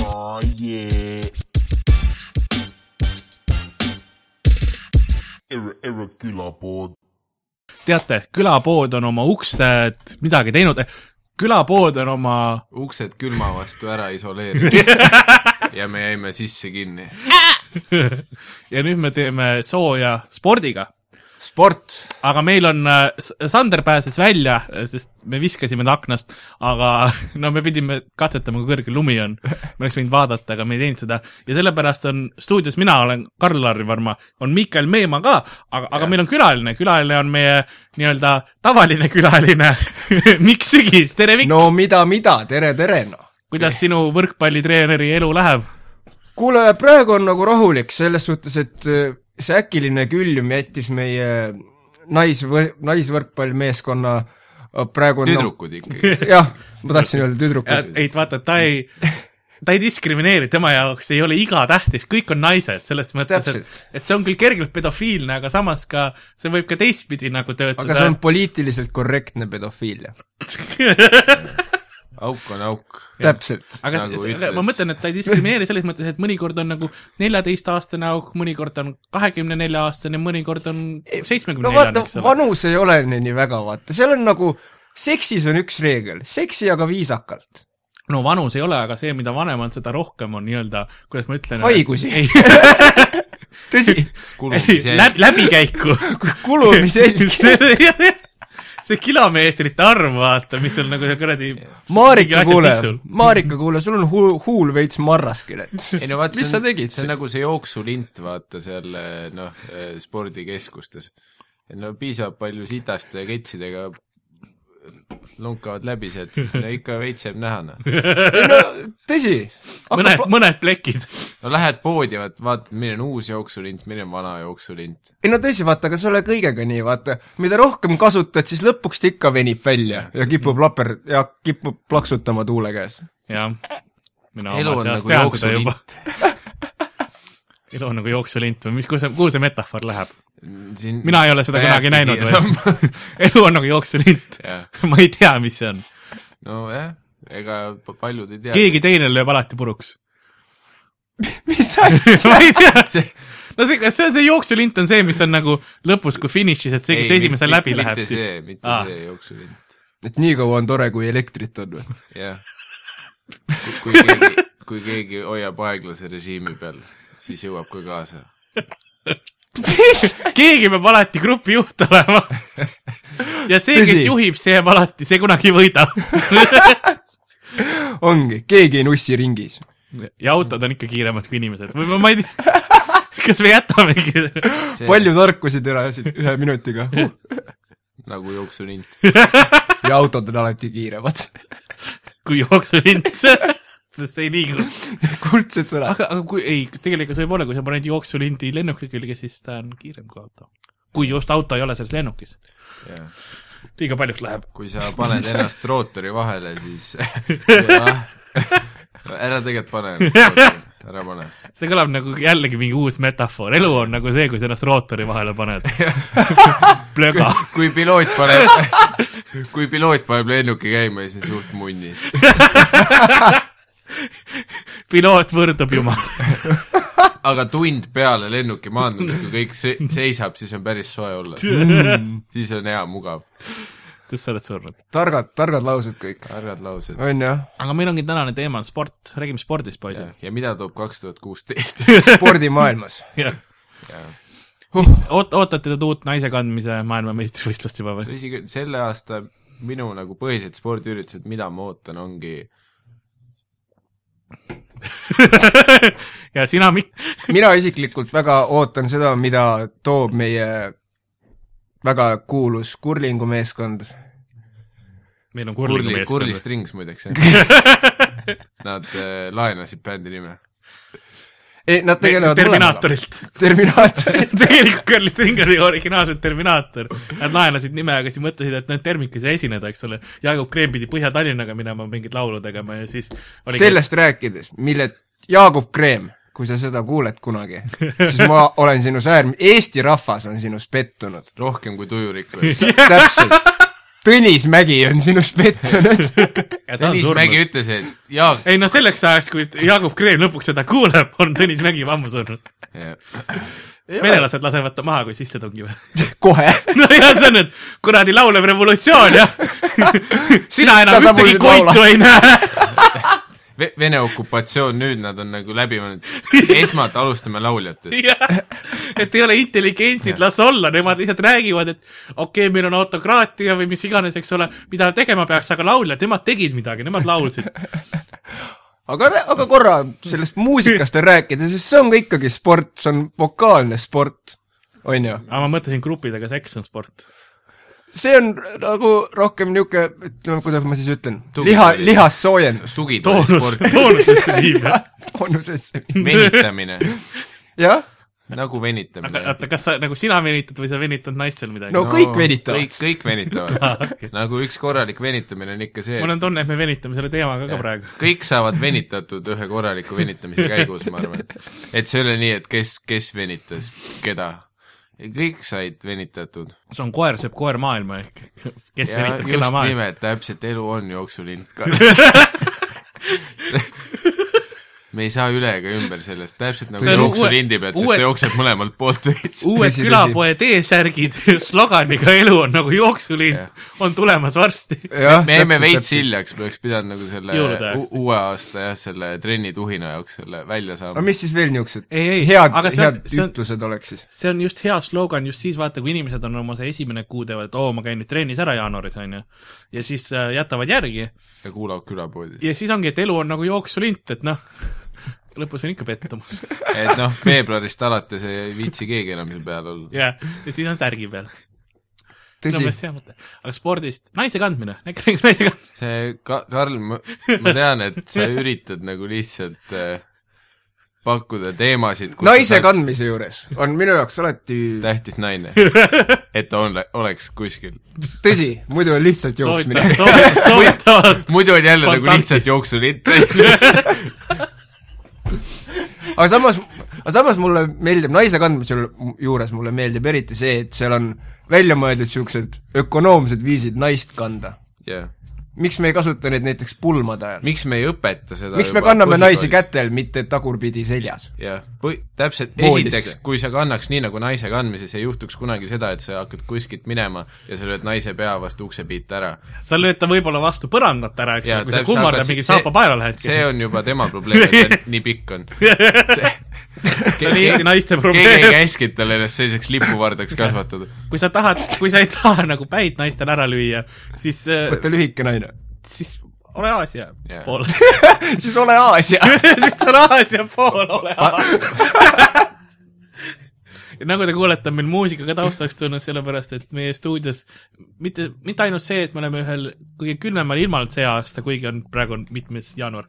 Oh yeah. Ir- Irre külapood . teate , külapood on oma ukste midagi teinud , külapood on oma , uksed külma vastu ära isoleerida ja me jäime sisse kinni . ja nüüd me teeme sooja spordiga . sport , aga meil on , Sander pääses välja , sest me viskasime ta aknast , aga no me pidime katsetama , kui kõrge lumi on . me oleks võinud vaadata , aga me ei teinud seda ja sellepärast on stuudios , mina olen Karl-Larri Varma , on Mikael Meemaa ka , aga , aga meil on külaline , külaline on meie nii-öelda tavaline külaline , Mikk Sügis , tere Mikk no. , no mida , mida , tere , tere noh . kuidas sinu võrkpallitreeneri elu läheb ? kuule , praegu on nagu rahulik selles suhtes , et äh, see äkiline külm jättis meie nais , naisvõrkpallimeeskonna äh, praegu tüdrukud ikkagi . no, . jah , ma tahtsin öelda tüdrukud . ei , vaata , ta ei , ta ei diskrimineeri , tema jaoks ei ole iga tähtis , kõik on naised , selles mõttes , et Täpselt. , et see on küll kergelt pedofiilne , aga samas ka , see võib ka teistpidi nagu töötada . aga see on poliitiliselt korrektne pedofiilia . auk on auk . täpselt . aga nagu nagu ütles. ma mõtlen , et ta ei diskrimineeri selles mõttes , et mõnikord on nagu neljateistaastane auk , mõnikord on kahekümne nelja aastane , mõnikord on seitsmekümne no neljane , vaata eks , ole . vanus ei ole nii nii väga , vaata , seal on nagu , seksis on üks reegel , seksi aga viisakalt . no vanus ei ole , aga see , mida vanem on , seda rohkem on nii-öelda , kuidas ma ütlen . Haigusi. tõsi , läbi , läbikäiku kulumise jälg . see, see kilomeetrite arv , vaata , mis on nagu see kuradi Maarika , mingi asja kuule tiksul. , Maarika , kuule , sul on huul , huul veits marraskilet . ei no vaata , Mis see sa on , tegid see on siin? nagu see jooksulint , vaata seal eh, noh , spordikeskustes . no piisab palju sitaste ja ketsidega lonkavad läbi sealt , siis no ikka veits jääb näha , noh . tõsi , mõned , hakkab , mõned plekid . no lähed poodi , vaat vaatad , milline on uus jooksulint , milline on vana jooksulint . ei no tõsi , vaata , aga see ei ole kõigega nii , vaata , mida rohkem kasutad , siis lõpuks ta ikka venib välja ja kipub laper- ja kipub plaksutama tuule käes . jah , mina Elu oma on seas nagu tean seda jooksulint. juba . elu on nagu jooksulint või mis , kuhu see , kuhu see metafoor läheb ? siin mina ei ole seda kunagi näinud või veel ? elu on nagu jooksulint . Jah. ma ei tea , mis see on . nojah , ega pa- paljud ei tea . keegi teine lööb alati puruks . mis asja ? ma ei tea , see no see , see , see jooksulint on see , mis on nagu lõpus , kui finišis , et see , kes esimesel läbi läheb , mitte see , siis mitte Aa. see jooksulint , et nii kaua on tore , kui elektrit on või ? jah . kui keegi , kui keegi hoiab aeglase režiimi peal , siis jõuab ka kaasa . keegi peab alati grupi juht olema . ja see , kes Tõsi. juhib , see jääb alati , see kunagi ei võida . ongi , keegi ei nussi ringis . ja autod on ikka kiiremad kui inimesed või ma- ma ei tea , kas me jätamegi selle- palju tarkusi terasid ühe minutiga huh. nagu jooksulint . ja autod on alati kiiremad . kui jooksulint , sest see ei liigu . kuldsed sõnad . aga , aga kui ei , tegelikult see võib olla , kui sa paned jooksulindi lennuki külge , siis ta on kiirem kui auto . kui just auto ei ole selles lennukis , liiga paljuks läheb . kui sa paned ennast rootori vahele , siis jah. ära tegelikult pane ennast rootori , ära pane . see kõlab nagu jällegi mingi uus metafoor , elu on nagu see , kui sa ennast rootori vahele paned . plöga . kui piloot paneb , kui piloot paneb lennuki käima , siis on suht munnis . piloot võrdub jumal . aga tund peale lennuki maandumist , kui kõik se- seisab , siis on päris soe olla . Mm. siis on hea , mugav . sest sa oled surnud . targad , targad laused kõik . targad laused . on jah , aga meil ongi tänane teema on sport , räägime spordist , poisid . ja mida toob kaks tuhat kuusteist ? spordimaailmas . jah . Huh. oot- , ootate te uut naise kandmise maailmameistrivõistlust juba või ? tõsi küll , selle aasta minu nagu põhilised spordiüritused , mida ma ootan , ongi ja sina , Mikk , mina isiklikult väga ootan seda , mida toob meie väga kuulus kurlingumeeskond . meil on Kurli , kurlingumeeskond . Kurli Strings muideks , jah . Nad äh, laenasid bändi nime . ei , nad tegelevad Terminaatorilt . Terminaatorit . tegelikult Curly String oli originaalselt Terminaator . Nad laenasid nime , aga siis mõtlesid , et nad Termikas ei esineda , eks ole . Jaagup Kreem pidi Põhja-Tallinnaga minema mingeid laulu tegema ja siis oli sellest rääkides , mille Jaagup Kreem , kui sa seda kuuled kunagi , siis ma olen sinus äärm- , Eesti rahvas on sinus pettunud . rohkem kui tujurikkus . täpselt , Tõnis Mägi on sinust pettunud . Tõnis Mägi ütles , et Jaak ei no selleks ajaks , kui Jaagup Kreem lõpuks seda kuuleb , on Tõnis Mägi juba ammu surnud . venelased lasevad ta maha , kui sisse tungivad . kohe . no ja see on nüüd kuradi laulev revolutsioon jah . sina Sitta enam sa ühtegi muidugi koitu laulad. ei näe . Ve- Vene okupatsioon , nüüd nad on nagu läbi mõelnud , esmalt alustame lauljatest . et ei ole intelligentsid , las olla , nemad lihtsalt räägivad , et okei okay, , meil on autokraatia või mis iganes , eks ole , mida tegema peaks , aga lauljad , nemad tegid midagi , nemad laulsid . aga , aga korra sellest muusikast veel rääkida , sest see on ka ikkagi sport , see on vokaalne sport , on ju . aga ma mõtlesin gruppidega seks on sport . see on nagu rohkem niisugune , ütleme , kuidas ma siis ütlen , Tugev liha , oli. lihassoojendus toonus , tugitoolisport , toonusesse viib jah . toonusesse . venitamine , jah , nagu venitamine . oota , kas sa nagu sina venitad või sa venitad naistel midagi No- kõik venitavad. Ah, kõik , kõik venitavad . nagu üks korralik venitamine on ikka see , mul on tunne , et me venitame selle teemaga ka praegu . kõik saavad venitatud ühe korraliku venitamise käigus , ma arvan . et see ei ole nii , et kes , kes venitas keda . kõik said venitatud . see on koer sööb koer maailma ehk kes ja venitab keda just maailma . nimelt , täpselt , elu on jooksulind ka me ei saa üle ega ümber sellest , täpselt nagu See on jooksulindi uue- pealt , sest uue- ta jookseb mõlemalt poolt veits . uued Tõsi, tõsi. külapoe T-särgid sloganiga Elu on nagu jooksulind Jah. on tulemas varsti . jah . me jäime veits . hiljaks , me oleks pidanud nagu selle Jõulude ajaks. u- uue aasta jah , selle trennituhina jaoks selle välja aga saama . mis siis veel niisugused Ei, ei, head aga , see on- head see on- ütlused oleks siis ? see on just hea slogan just siis , vaata , kui inimesed on oma see esimene kuupäev , et oo , ma käin nüüd trennis ära jaanuaris , on ju . ja siis äh, jätavad järgi ja kuulavad külapoodi . ja siis ongi , et elu on nagu jooksulint , et noh , lõpus on ikka pettumus . et noh , veebruarist alates ei viitsi keegi enam siin peal olla . jah , ja siis on särgi peal . minu tõsi , meelest hea mõte . aga spordist , naise kandmine , naise kandmine . see ka- , Karl , ma ma tean , et sa üritad nagu lihtsalt äh, pakkuda teemasid , naise kandmise juures on minu jaoks alati , tähtis naine , et ta on , oleks kuskil . tõsi , muidu on lihtsalt jooksmine . soovitavad , soovitavad muidu on jälle nagu Fantastis. lihtsalt jooksulind . aga samas , aga samas mulle meeldib naise kandmise ju- juures mulle meeldib eriti see , et seal on välja mõeldud siuksed ökonoomsed viisid naist kanda . jah , miks me ei kasuta neid näiteks pulmade ajal ? miks me ei õpeta seda miks me juba kanname naisi põhikoolis? kätel , mitte tagurpidi seljas ? jah , või täpselt , Voodisse. esiteks , kui sa kannaks nii , nagu naise kandmises , ei juhtuks kunagi seda , et sa hakkad kuskilt minema ja sa lööd naise pea vastu uksepiit ära . sa lööd ta võib-olla vastu põrandat ära , eks Jaa, ju , kui sa täpselt, kummardad aga mingi see- saapa paela lähed . see on juba tema probleem , et ta nii pikk on . see on Eesti naiste keegi ei probleem . käskinud tal ennast selliseks lipuvardaks kasvatada . kui sa tahad , kui sa ei taha nagu päid naistel ära lüüa , siis , Äh. võta lühike naine . siis ole Aasia Jaa. pool . siis ole Aasia . Äh. siis ole Aasia pool , ole Aasia . nagu te kuulete , on meil muusika ka taustaks tulnud , sellepärast et meie stuudios mitte , mitte ainult see , et me oleme ühel kõige külmemal ilmal see aasta , kuigi on , praegu on mitmes jaanuar ,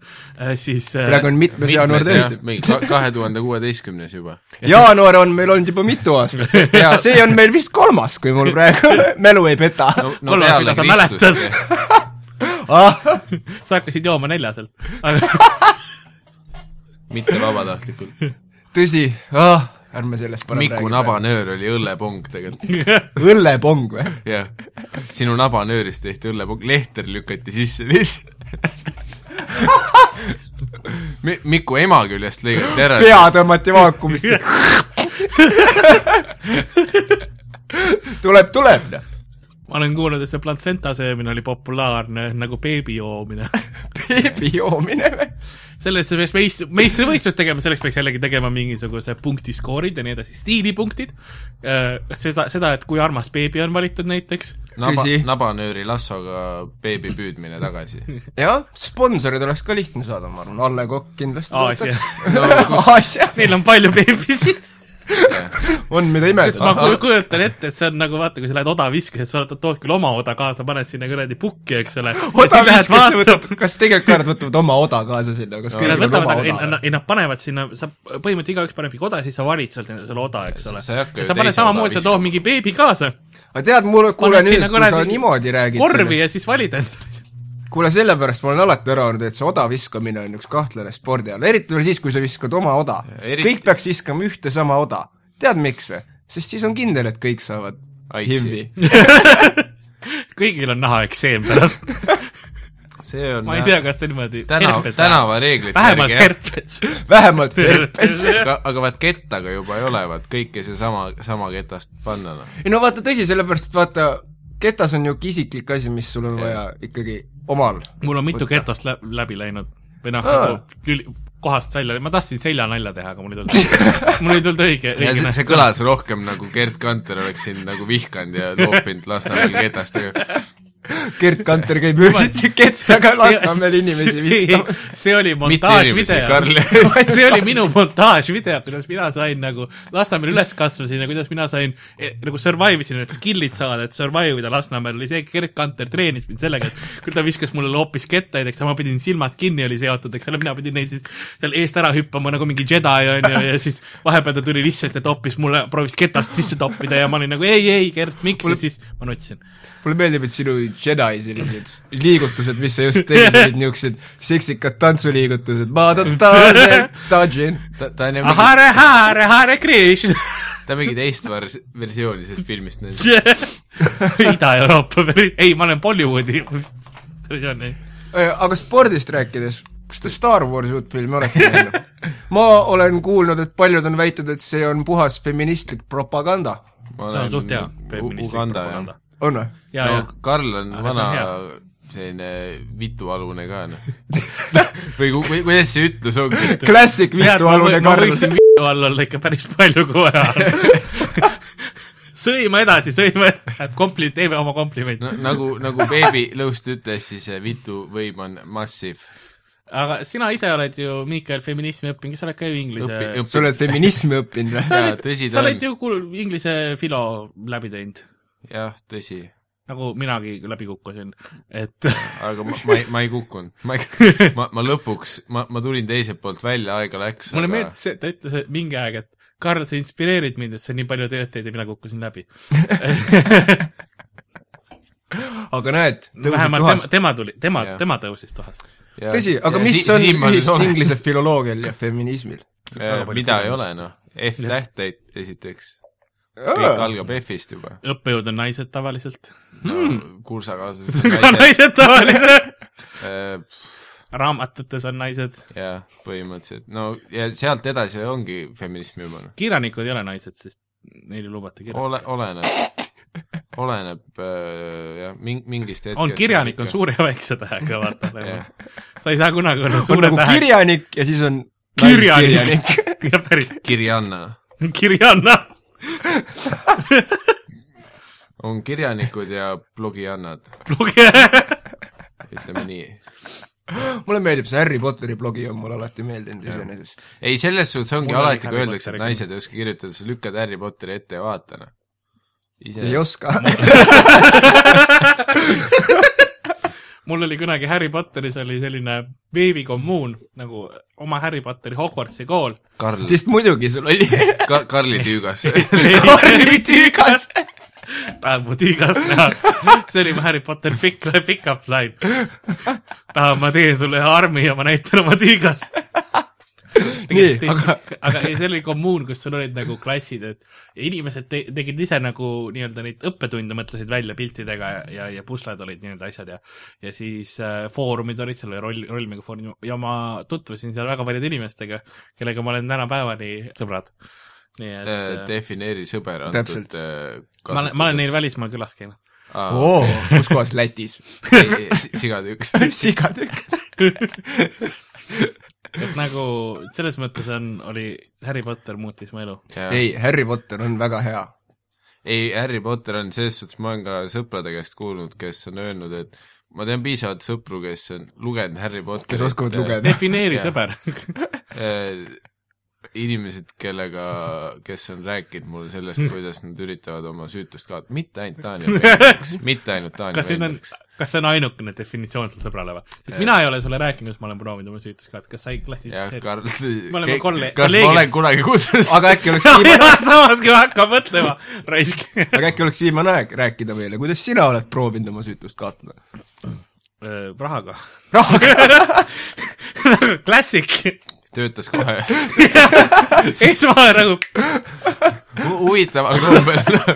siis äh, praegu on mitmes jaanuar tõesti . mingi kahe tuhande kuueteistkümnes juba . jaanuar on meil olnud juba mitu aastat ja see on meil vist kolmas , kui mul praegu mälu ei peta . kolmas , mida sa mäletad . Ah, sa hakkasid jooma neljaselt . aga mitte vabatahtlikult . tõsi ah, , ärme sellest parem Miku . nabanöör oli õllepong tegelikult , õllepong või ? jah . sinu nabanöörist tehti õllepong , lehter lükati sisse lihtsalt . Mi- , Miku ema küljest lõigati ära . pea tõmmati vaakumisse . tuleb , tuleb . ma olen kuulnud , et see platsenta söömine oli populaarne nagu beebi joomine . beebi joomine või ? selleks peaks meist- , meistrivõistlused tegema , selleks peaks jällegi tegema mingisuguse punktiskoorid ja nii edasi , stiilipunktid . seda , seda , et kui armas beebi on valitud näiteks . naba Tõsi. , nabanööri lassoga beebi püüdmine tagasi . jah , sponsorid oleks ka lihtne saada , ma arvan , Alle Kokk kindlasti Aasia. võtaks . Aasia , Neil on palju beebisid . on mida ma imestada . ku- kujutan ette , et see on nagu vaata , kui sa lähed odaviskesse , sa oled- tood küll oma oda kaasa , paned sinna kuradi pukki , eks ole . ja siis lähed odaviskesse vaatad võtab , kas tegelikult koerad võtavad oma oda kaasa sinna , kas Nad kõigil on võtavad , oma ei oda nad- ? ei nad panevad sinna , sa põhimõtteliselt igaüks paneb mingi oda ja siis sa valid sealt endale selle oda , eks ole . sa ei hakka ju sa paned teise oda samamoodi , sa tood viskama. mingi beebi kaasa , aga tead , mul , kuule paned nüüd sinna , kui sa kuradi niimoodi räägid korvi ja siis valid endale . kuule , sellepärast ma olen alati ära öelnud , et see oda viskamine on üks kahtlane spordiala , eriti veel siis , kui sa viskad oma oda . eriti- kõik peaks viskama ühte sama oda . tead miks või ? sest siis on kindel , et kõik saavad Aitsi. HIV-i . kõigil on naha ekseem pärast . see on ma ei tea , kas see niimoodi täna , herpes tänavareeglite vähemalt jah. herpes . vähemalt herpes . herpes . aga , aga vaat kettaga juba ei ole , vaat kõike seesama , sama ketast panna , noh . ei no vaata , tõsi , sellepärast et vaata , ketas on niisugune isiklik asi , mis sul on vaja ikkagi omal . mul on mitu ketast lä- läbi läinud või noh Aa. , kohast välja , ma tahtsin seljanalja teha , aga mul ei tulnud , mul ei tulnud õige , ja õige see , see . kõlas rohkem nagu Gerd Kanter oleks sind nagu vihkanud ja loopinud Lasnamäel ketastega . Gert Kanter käib öösiti kettaga Lasnamäel inimesi viskamas .. see oli inimesi, montaažvideo Karl. , see oli minu montaažvideo , kuidas mina sain nagu Lasnamäel üles kasvasin ja kuidas mina sain eh, nagu survive isin , need skill'id saada , et survive ida Lasnamäel , oli see , Gerd Kanter treenis mind sellega , et kui ta viskas mulle hoopis kettaid , eks ma pidin silmad kinni oli seotud , eks ole , mina pidin neid siis seal eest ära hüppama nagu mingi Jedi onju ja siis vahepeal ta tuli lihtsalt ja toppis mulle , proovis ketast sisse toppida ja ma olin nagu ei , ei Gerd , miks ja siis ma nutsin . mulle meeldib , et sinu Jedi sellised liigutused , mis sa just tegid , olid niisugused seksikad tantsuliigutused , ma totaalselt dodgin . ta , ta on ju mingi , Hare , hare , hare Krishna ta on mingi teist vers- , versiooni sellest filmist nüüd . Ida-Euroopa päris , ei , ma olen Bollywoodi versiooni . Äh, aga spordist rääkides , kas te Star Warsi uut filmi olete näinud ? ma olen kuulnud , et paljud on väitnud , et see on puhas feministlik propaganda . ma ta on suht hea U- Uganda jah . on või ? ja , ja no , Karl on Aga see on vana hea. selline vitualune ka , noh . või ku- või kuidas see ütlus ongi ? Classic tead , ma vitualune võin- ma Karl . võiksin vitu all olla ikka päris palju kohe . sõima edasi , sõima edasi , kompli- , teeme oma komplimendi no . nagu , nagu Baby Lõust ütles , siis see vitu võim on massive . aga sina ise oled ju , Miikael , feminismi õppinud , kas sa oled ka ju õpi , inglise , sa õpi , oled feminismi õppinud või ? jaa , tõsi sa ta oled on , ju kuul- , inglise filo läbi teinud jah , tõsi . nagu minagi läbi kukkusin , et aga ma , ma ei , ma ei kukkunud . ma ei , ma , ma lõpuks , ma , ma tulin teiselt poolt välja , aega läks , mulle aga meeldis see , ta ütles et mingi aeg , et Karl , sa inspireerid mind , et sa nii palju tööd teed ja mina kukkusin läbi . aga näed , tõusid vähemalt tema, kohast . tema tuli , tema Jah. , tema tõusis tohast . ja, tõsi , aga ja mis si- on Siimann ühist soovib- inglise filoloogial ja feminismil ? Eh, mida ei ole , noh . F-tähteid esiteks . kõik Aa. algab F-ist juba . õppejõud on naised tavaliselt . kursakaaslased ka on naised . naised tavaliselt . Eh, raamatutes on naised . jah , põhimõtteliselt . no ja sealt edasi ongi feminism juba , noh . kirjanikud ei ole naised , sest neile lubati kirjanik . ole , oleneb , oleneb eh, jah , ming- , mingist hetkest . nagu on kirjanik , on . suure ja väikse tähega , vaata nagu. Jah. . sa ei saa kunagi olla on suure nagu tähega . kirjanik ja siis on kirjanik ., ja päris , kirjanna . kirjanna . on kirjanikud ja blogijannad , lugege ütleme nii mulle meeldib see Harry Potteri blogi on mulle alati meeldinud iseenesest . ei , selles suhtes ongi Mul oli alati , kui Harry öeldakse , et Potteriga. naised ei oska kirjutada , sa lükkad Harry Potteri ette ja vaata , noh . ei . oska . mul oli kunagi Harry Potteris oli selline veebikommuun nagu oma Harry Potteri Hogwartsi kool . Karl , sest muidugi sul oli ka, Karli tüügas . Harry tüügas . päevu tiigas näha . see oli mu Harry Potter pikk , pikk-up line . taha , ma teen sulle ühe armi ja ma näitan oma tiigast . nii , aga aga ei, see oli kommuun , kus sul olid nagu klassid , et ja inimesed te tegid ise nagu nii-öelda neid õppetunde mõtlesid välja piltidega ja , ja , ja pusled olid nii-öelda asjad ja ja siis äh, foorumid olid seal , roll , rollmängufoorum ja ma tutvusin seal väga paljude inimestega , kellega ma olen tänapäevani sõbrad . nii et äh, defineeri sõber Täpselt. antud äh, ma olen , ma olen neil välismaal külas käinud . kasutuses . oo , kus kohas Lätis ? sigatükk . sigatükk . et nagu selles mõttes on , oli Harry Potter muutis mu elu . ei , Harry Potter on väga hea . ei , Harry Potter on selles suhtes , ma olen ka sõprade käest kuulnud , kes on öelnud , et ma tean piisavalt sõpru , kes on lugenud Harry Potterit . kes oskavad lugeda . defineeri Jah. sõber . Äh, inimesed , kellega , kes on rääkinud mulle sellest , Mm. kuidas nad üritavad oma süütust kaotada , mitte ainult Taani veenmiseks , mitte ainult Taani kas nüüd on veenmiseks ., kas see on ainukene definitsioon sul sõbrale või ? sest Jah. mina ei ole sulle rääkinud , kas ma olen proovinud oma süütuskaart , kas sa ei jah , klassifitseeri ? Karl , Me oleme kolle- kas ma kolleegid. olen kunagi kutsunud aga äkki oleks viimane , samas kui ma hakkan mõtlema , raisk . aga äkki oleks viimane aeg rääkida meile , kuidas sina oled proovinud oma süütust kaotada ? Äh, rahaga . rahaga . Nagu klassik . töötas kohe esmane nagu Hu- huvitaval kombel .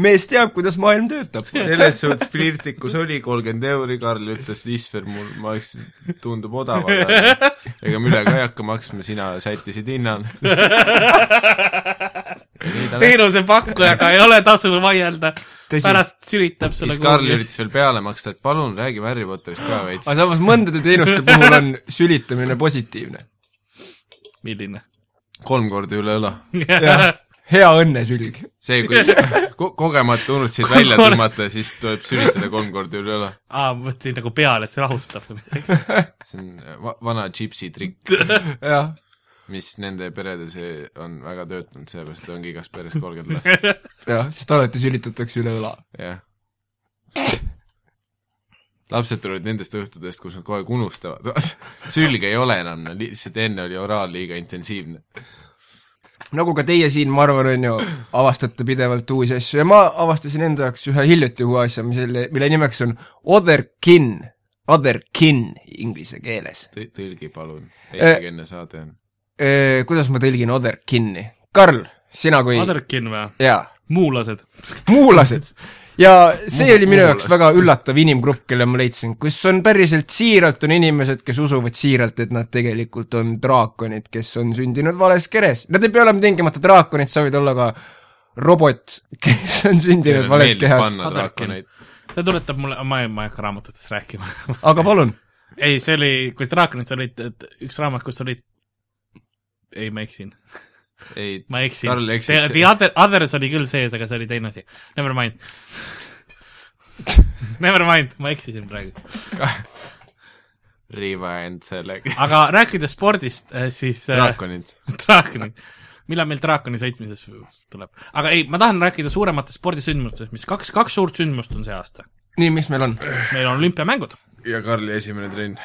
mees teab , kuidas maailm töötab . selles suhtes flirtikus oli kolmkümmend euri , Karl ütles , Isver , mul , ma eks , tundub odavam , aga ega ma üle ka ei hakka maksma , sina sättisid hinna . teenusepakkujaga ei ole tasuv vaielda . Tõsi. pärast sülitab sulle siis Karl . üritas veel peale maksta , et palun räägime Harry Potterist ka veits aga . samas mõndade teenuste puhul on sülitamine positiivne . milline ? kolm korda üle õla . hea õnnesülg . see , kui ko kogemata unustasid välja tõmmata , siis tuleb sülitada kolm korda üle õla . aa , ma mõtlesin nagu peale , et see rahustab või midagi . see on äh, va vana džipsi trikk , jah . mis nende peredes on väga töötanud , sellepärast ongi igas peres kolmkümmend last , jah , sest alati sülitatakse üle õla . jah . lapsed tulevad nendest õhtudest , kus nad kogu aeg unustavad , sülge ei ole enam , lihtsalt enne oli oraal liiga intensiivne . nagu ka teie siin , ma arvan , on ju , avastate pidevalt uusi asju ja ma avastasin enda jaoks ühe hiljuti uue asja , mis selle , mille nimeks on other kin , other kin inglise keeles . tõlgi palun , teistega enne saade on . Kuidas ma tõlgin other kin'i ? Karl , sina kui Aderkin või ? jaa , muulased . muulased . ja see oli minu jaoks Muulased. väga üllatav inimgrupp , kelle ma leidsin , kus on päriselt siiralt , on inimesed , kes usuvad siiralt , et nad tegelikult on draakonid , kes on sündinud vales keres . Nad ei pea olema tingimata draakonid , sa võid olla ka robot , kes on sündinud vales kehas . Aderkin . ta tuletab mulle , ma ei , ma ei hakka raamatutest rääkima . aga palun . ei , see oli , kui Draakonid olid , et üks raamat , kus olid ei , ma eksin , ei , ma eksin . Karl The, the eksis . other , others oli küll sees , aga see oli teine asi . Never mind . Never mind , ma eksisin praegu . Rewind sellega . aga rääkides spordist , siis äh, draakonid . draakonid , millal meil draakoni sõitmises tuleb , aga ei , ma tahan rääkida suurematest spordisündmustest , mis kaks , kaks suurt sündmust on see aasta . nii , mis meil on ? meil on olümpiamängud , ja Karli esimene trenn .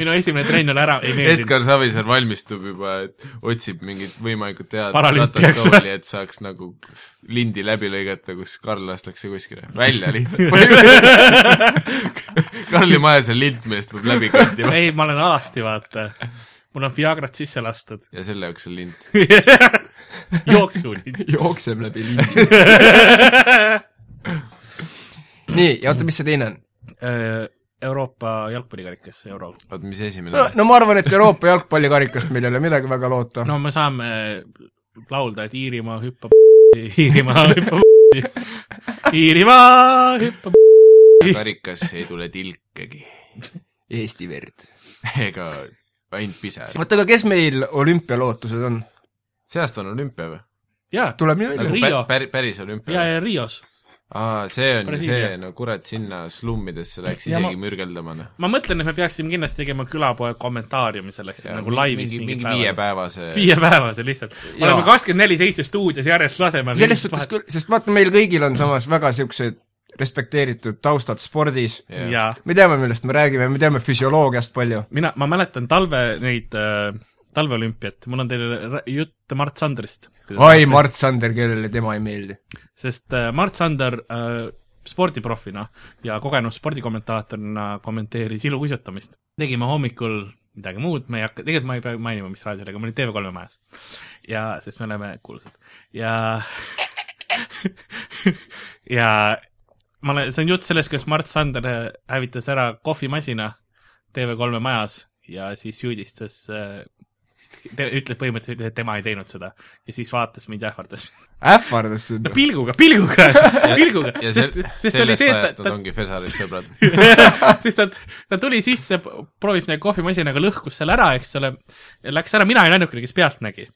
minu esimene trenn oli ära , ei meeldinud . Edgar Savisaar valmistub juba , et otsib mingit võimalikult head Paralümpiaks või? ratastooli , et saaks nagu lindi läbi lõigata , kus Karl lastakse kuskile välja lihtsalt . Karli majas on lint , millest peab läbi kõndima . ei , ma olen alasti , vaata . mul on Viagrat sisse lastud . ja selle jaoks on lint . jooksul . jookseb läbi lindi . Äh, nii , ja oota , mis see teine on ? Euroopa jalgpallikarikas , euro . oot , mis esimene no oli ? no ma arvan , et Euroopa jalgpallikarikast meil ei ole midagi väga loota . no me saame laulda , et Iirimaa hüppab , Iirimaa hüppab , Iirimaa hüppab . karikas ei tule tilkegi Eesti verd . ega ainult pisar . oota , aga kes meil olümpialootused on ? see aasta on olümpia või ? jaa , tuleb nii välja . nagu Rio. pä- pär- , päris olümpia ja , või ? ja Rios aa , see on ju Brasiilia. see , no kurat , sinna slummidesse läks Ja isegi ma- ma... mürgeldama , noh . ma mõtlen , et me peaksime kindlasti tegema külapoe kommentaariumi selleks , et nagu laivis mingi , mingil mingi päeval . viiepäevase viiepäevase lihtsalt . oleme kakskümmend neli seitse stuudios järjest laseme . selles suhtes küll , sest vaata , meil kõigil on samas väga niisugused respekteeritud taustad spordis , Jah. jaa , me teame , millest me räägime , me teame füsioloogiast palju . mina , ma mäletan talve neid äh, talveolümpiat , mul on teile rä- jutt Mart Sandrist . ai , Mart Sander , kellele tema ei meeldi . sest äh, Mart Sander äh, spordiprofina ja kogenud spordikommentaatorina kommenteeris iluuisutamist . tegime hommikul midagi muud , me ei hakka , tegelikult ma ei pea mainima , mis raadio oli , aga ma olin TV3-e majas . ja , sest me oleme kuulsad ja ja ma olen , see on jutt sellest , kuidas Mart Sander hävitas ära kohvimasina TV3-e majas ja siis süüdistas äh, te- ütleb põhimõtteliselt , et tema ei teinud seda ja siis vaatas mind ja ähvardas ähvardas sind no . pilguga , pilguga , pilguga , ja sest , sel- , sest oli sellest see , et ajast ta , nad ta ongi Fesaris sõbrad . siis ta , ta tuli sisse , proovis neid kohvimasinaga , lõhkus selle ära , eks ole , läks ära , mina olin ainukene , kes pealt nägi .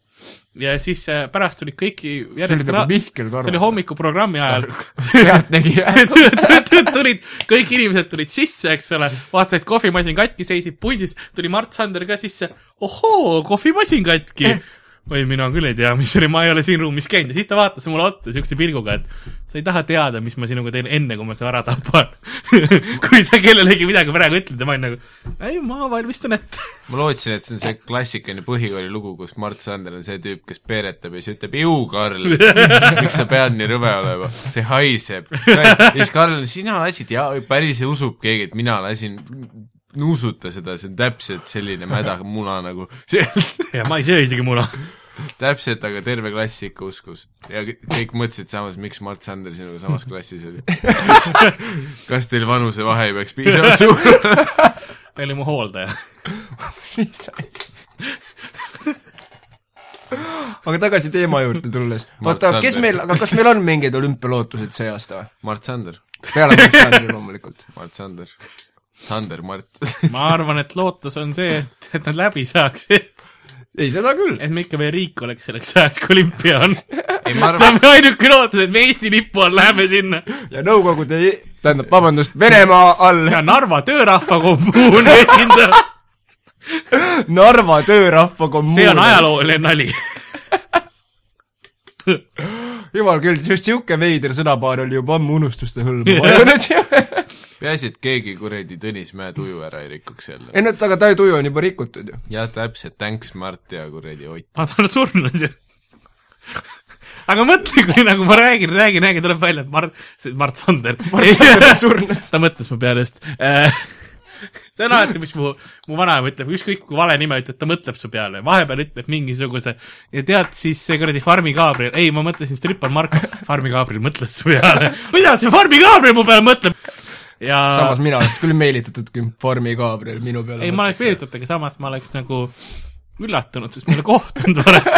ja siis äh, pärast tulid kõiki see oli järjest nagu Mihkel see oli Karmo . hommikuprogrammi ajal pealtnägija . tulid , kõik inimesed tulid sisse , eks ole , vaatasid kohvimasin katki , seisid pundis , tuli Mart Sander ka sisse , ohoo , kohvimasin katki . oi , mina küll ei tea , mis oli , ma ei ole siin ruumis käinud ja siis ta vaatas mulle otsa siukse pilguga , et sa ei taha teada , mis ma sinuga teen enne , kui ma su ära tapan . kui sa kellelegi midagi praegu ütled ja ma olen nagu , ei , ma valmistan ette . ma lootsin , et see on see klassikaline põhikooli lugu , kus Mart Sander on see tüüp , kes peeretab ja siis ütleb , ju Karl , miks sa pead nii rõve olema , see haiseb . ja siis Karl , sina lasid ja päris ei usub keegi , et mina lasin nuusuta seda , see on täpselt selline mäda muna nagu , see ja ma ei söö isegi muna . täpselt , aga terve klass ikka uskus . ja kõ- kõik mõtlesid samas , miks Mart Sander sinuga samas klassis oli . kas teil vanusevahe ei peaks piisavalt suur olema ? ta oli mu hooldaja . mis asja ? aga tagasi teema juurde tulles , Mart oota , kes Sander. meil , aga kas meil on mingeid olümpialootused see aasta või ? Mart Sander , peale Mart Sandri loomulikult . Mart Sander , Sander Mart . ma arvan , et lootus on see , et , et nad läbi saaksid . ei , seda küll . et me ikka veel riik oleks selleks ajaks , kui olümpia on . ei , see ma arvan , on ainuke lootus , et me Eesti lipu all läheme sinna ja Nõukogude , tähendab , vabandust , Venemaa all ja Narva töörahva kommuun esindab . Narva töörahva kommuun . see on . ajalooline nali . jumal küll , just niisugune veider sõnapaar oli juba ammu unustuste hõlma vajunud . peaasi , et keegi kuradi Tõnis Mäe tuju ära ei rikuks jälle . ei no aga ta ju tuju on juba rikutud ju . jah , täpselt , thanks Mart ja kuradi Ott . aga Ah, ta on surnud ju . aga mõtle , kui nagu ma räägin , räägin , räägin , tuleb välja , et Mart , Mart Sander . Mart Sander on surnud . ta mõtles mu peale just . see on alati , mis mu , mu vanaema ütleb , ükskõik kui vale nime ütled , ta mõtleb su peale , vahepeal ütleb mingisuguse ja tead siis see kuradi Farmi Gabriel , ei , ma mõtlesin Stripper Mark , Farmi Gabriel mõtles su peale . mida see Farmi Gabriel mu peale mõtleb ? ja samas mina oleks küll meelitatud , kui Farmi Gabriel minu peale ei , ma oleks meelitatud , aga samas ma oleks nagu üllatunud , sest me ei ole kohtunud varem .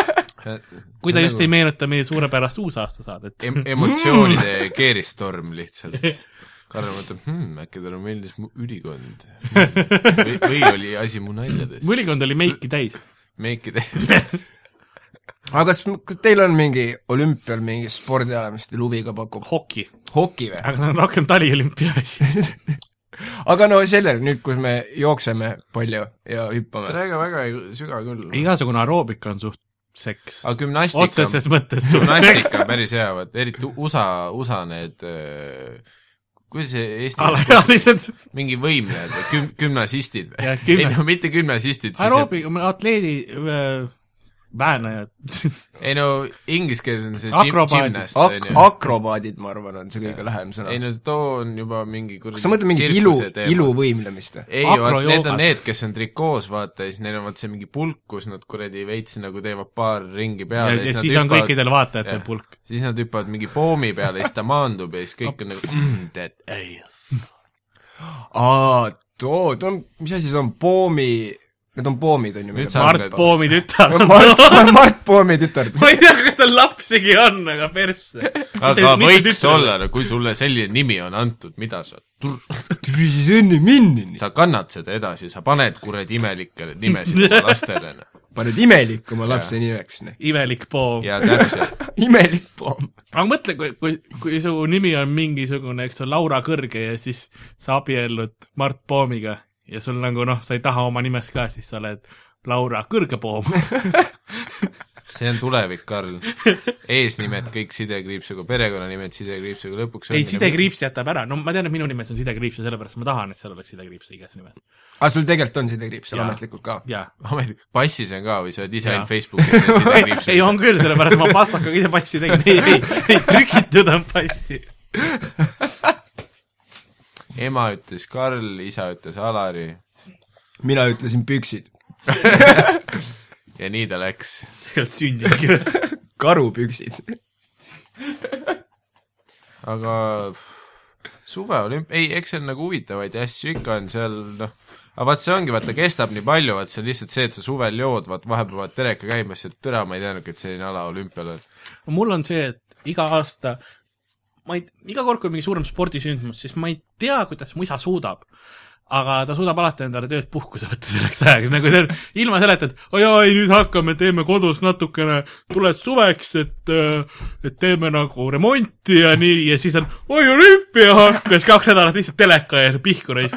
kui Nagu- ta just ei meenuta meie suurepärast uusaastasaade , em- , emotsioonide keeristorm lihtsalt . Karl mõtleb , hmm , äkki talle meeldis mu ülikond hmm. . või , või oli asi mu naljades et . mõnikord oli meiki täis . meiki teha . aga kas kas teil on mingi olümpial mingi spordiala , mis teil huvi ka pakub ? hoki , hoki või ? aga see on rohkem taliolümpia asi . aga no sellel nüüd , kus me jookseme palju ja hüppame . väga , väga ei- süga küll . igasugune aeroobika on suht seks . aga gümnastika , otseses mõttes suht seks . gümnastika on päris hea , vaat eriti USA , USA need öö, kuidas see eesti , alaealised , mingi võimlejad või güm- , gümnasistid või Jah, ? gümna- ei no mitte gümnasistid , siis aeroobika , atleedi , väänajad . ei no inglise keeles on see gym- Akrobaadid. gymnast , on , Ak- ju . akrobaadid , ma arvan , on see kõige lähem ei sõna . no too on juba mingi kuradi kas sa mõtled mingit ilu , iluvõimlemist või ? ei , vaat Akrojoogad. need on need , kes on trikoos , vaata , ja siis neil on vaat see mingi pulk , kus nad kuradi veits nagu teevad paar ringi peale ja siis on kõikidel vaatajatel jah. pulk . siis nad hüppavad mingi poomi peale ja siis ta maandub ja siis kõik on nagu mm, that ass . aa , too , too on , mis asi see on , poomi , need on poomid , on ju ? Nüüd sa- Mart Poomi tütar . Mart , Mart Poomi tütar . ma ei tea , kas tal lapsigi on , aga persse . aga võiks olla , no kui sulle selline nimi on antud , mida sa , sa kannad seda edasi , sa paned kuradi imelikke nimesid oma lastele . noh. paned imelik oma lapse nimeks , noh . imelik Poom . ja täpselt , imelik poom . aga mõtle , kui , kui , kui su nimi on mingisugune , eks ole , Laura Kõrge ja siis sa abiellud Mart Poomiga ja sul nagu noh , sa ei taha oma nimes ka , siis sa oled Laura Kõrgepoom . see on tulevik , Karl . eesnimed kõik sidekriipsuga , perekonnanimed sidekriipsuga , lõpuks nagu ei , sidekriips jätab ära , no ma tean , et minu nimes on sidekriips ja sellepärast ma tahan , et seal oleks sidekriips igas nimes . aga Ah, sul tegelikult on sidekriips seal Jaa. ametlikult ka ? jaa . ametlik , passis on ka või sa oled ise Jaa. ainult Facebookis ja sidekriipsuga ei , on küll , sellepärast ma pastakaga ise passi tegin , ei , ei , ei trükitud on passi . ema ütles Karl , isa ütles Alari mina ütlesin püksid . ja nii ta läks . see ei olnud sündinudki . karupüksid . aga suveolümp- , ei , eks seal nagu huvitavaid asju ikka on seal , noh , aga vaat see ongi , vaata , kestab nii palju , vaat see on lihtsalt see , et sa suvel jood , vaat vahepeal vaat teleka käimas , et türa , ma ei teadnudki , et selline ala olümpial on . mul on see , et iga aasta ma ei , iga kord , kui on mingi suurem spordisündmus , siis ma ei tea , kuidas mu isa suudab . aga ta suudab alati endale töölt puhkuse võtta selleks ajaks , nagu see on , ilma selleta , et oi-oi , nüüd hakkame , teeme kodus natukene , tuled suveks , et , et teeme nagu remonti ja nii , ja siis on oi , olümpia hakkas , kaks nädalat lihtsalt teleka ees pihku reis .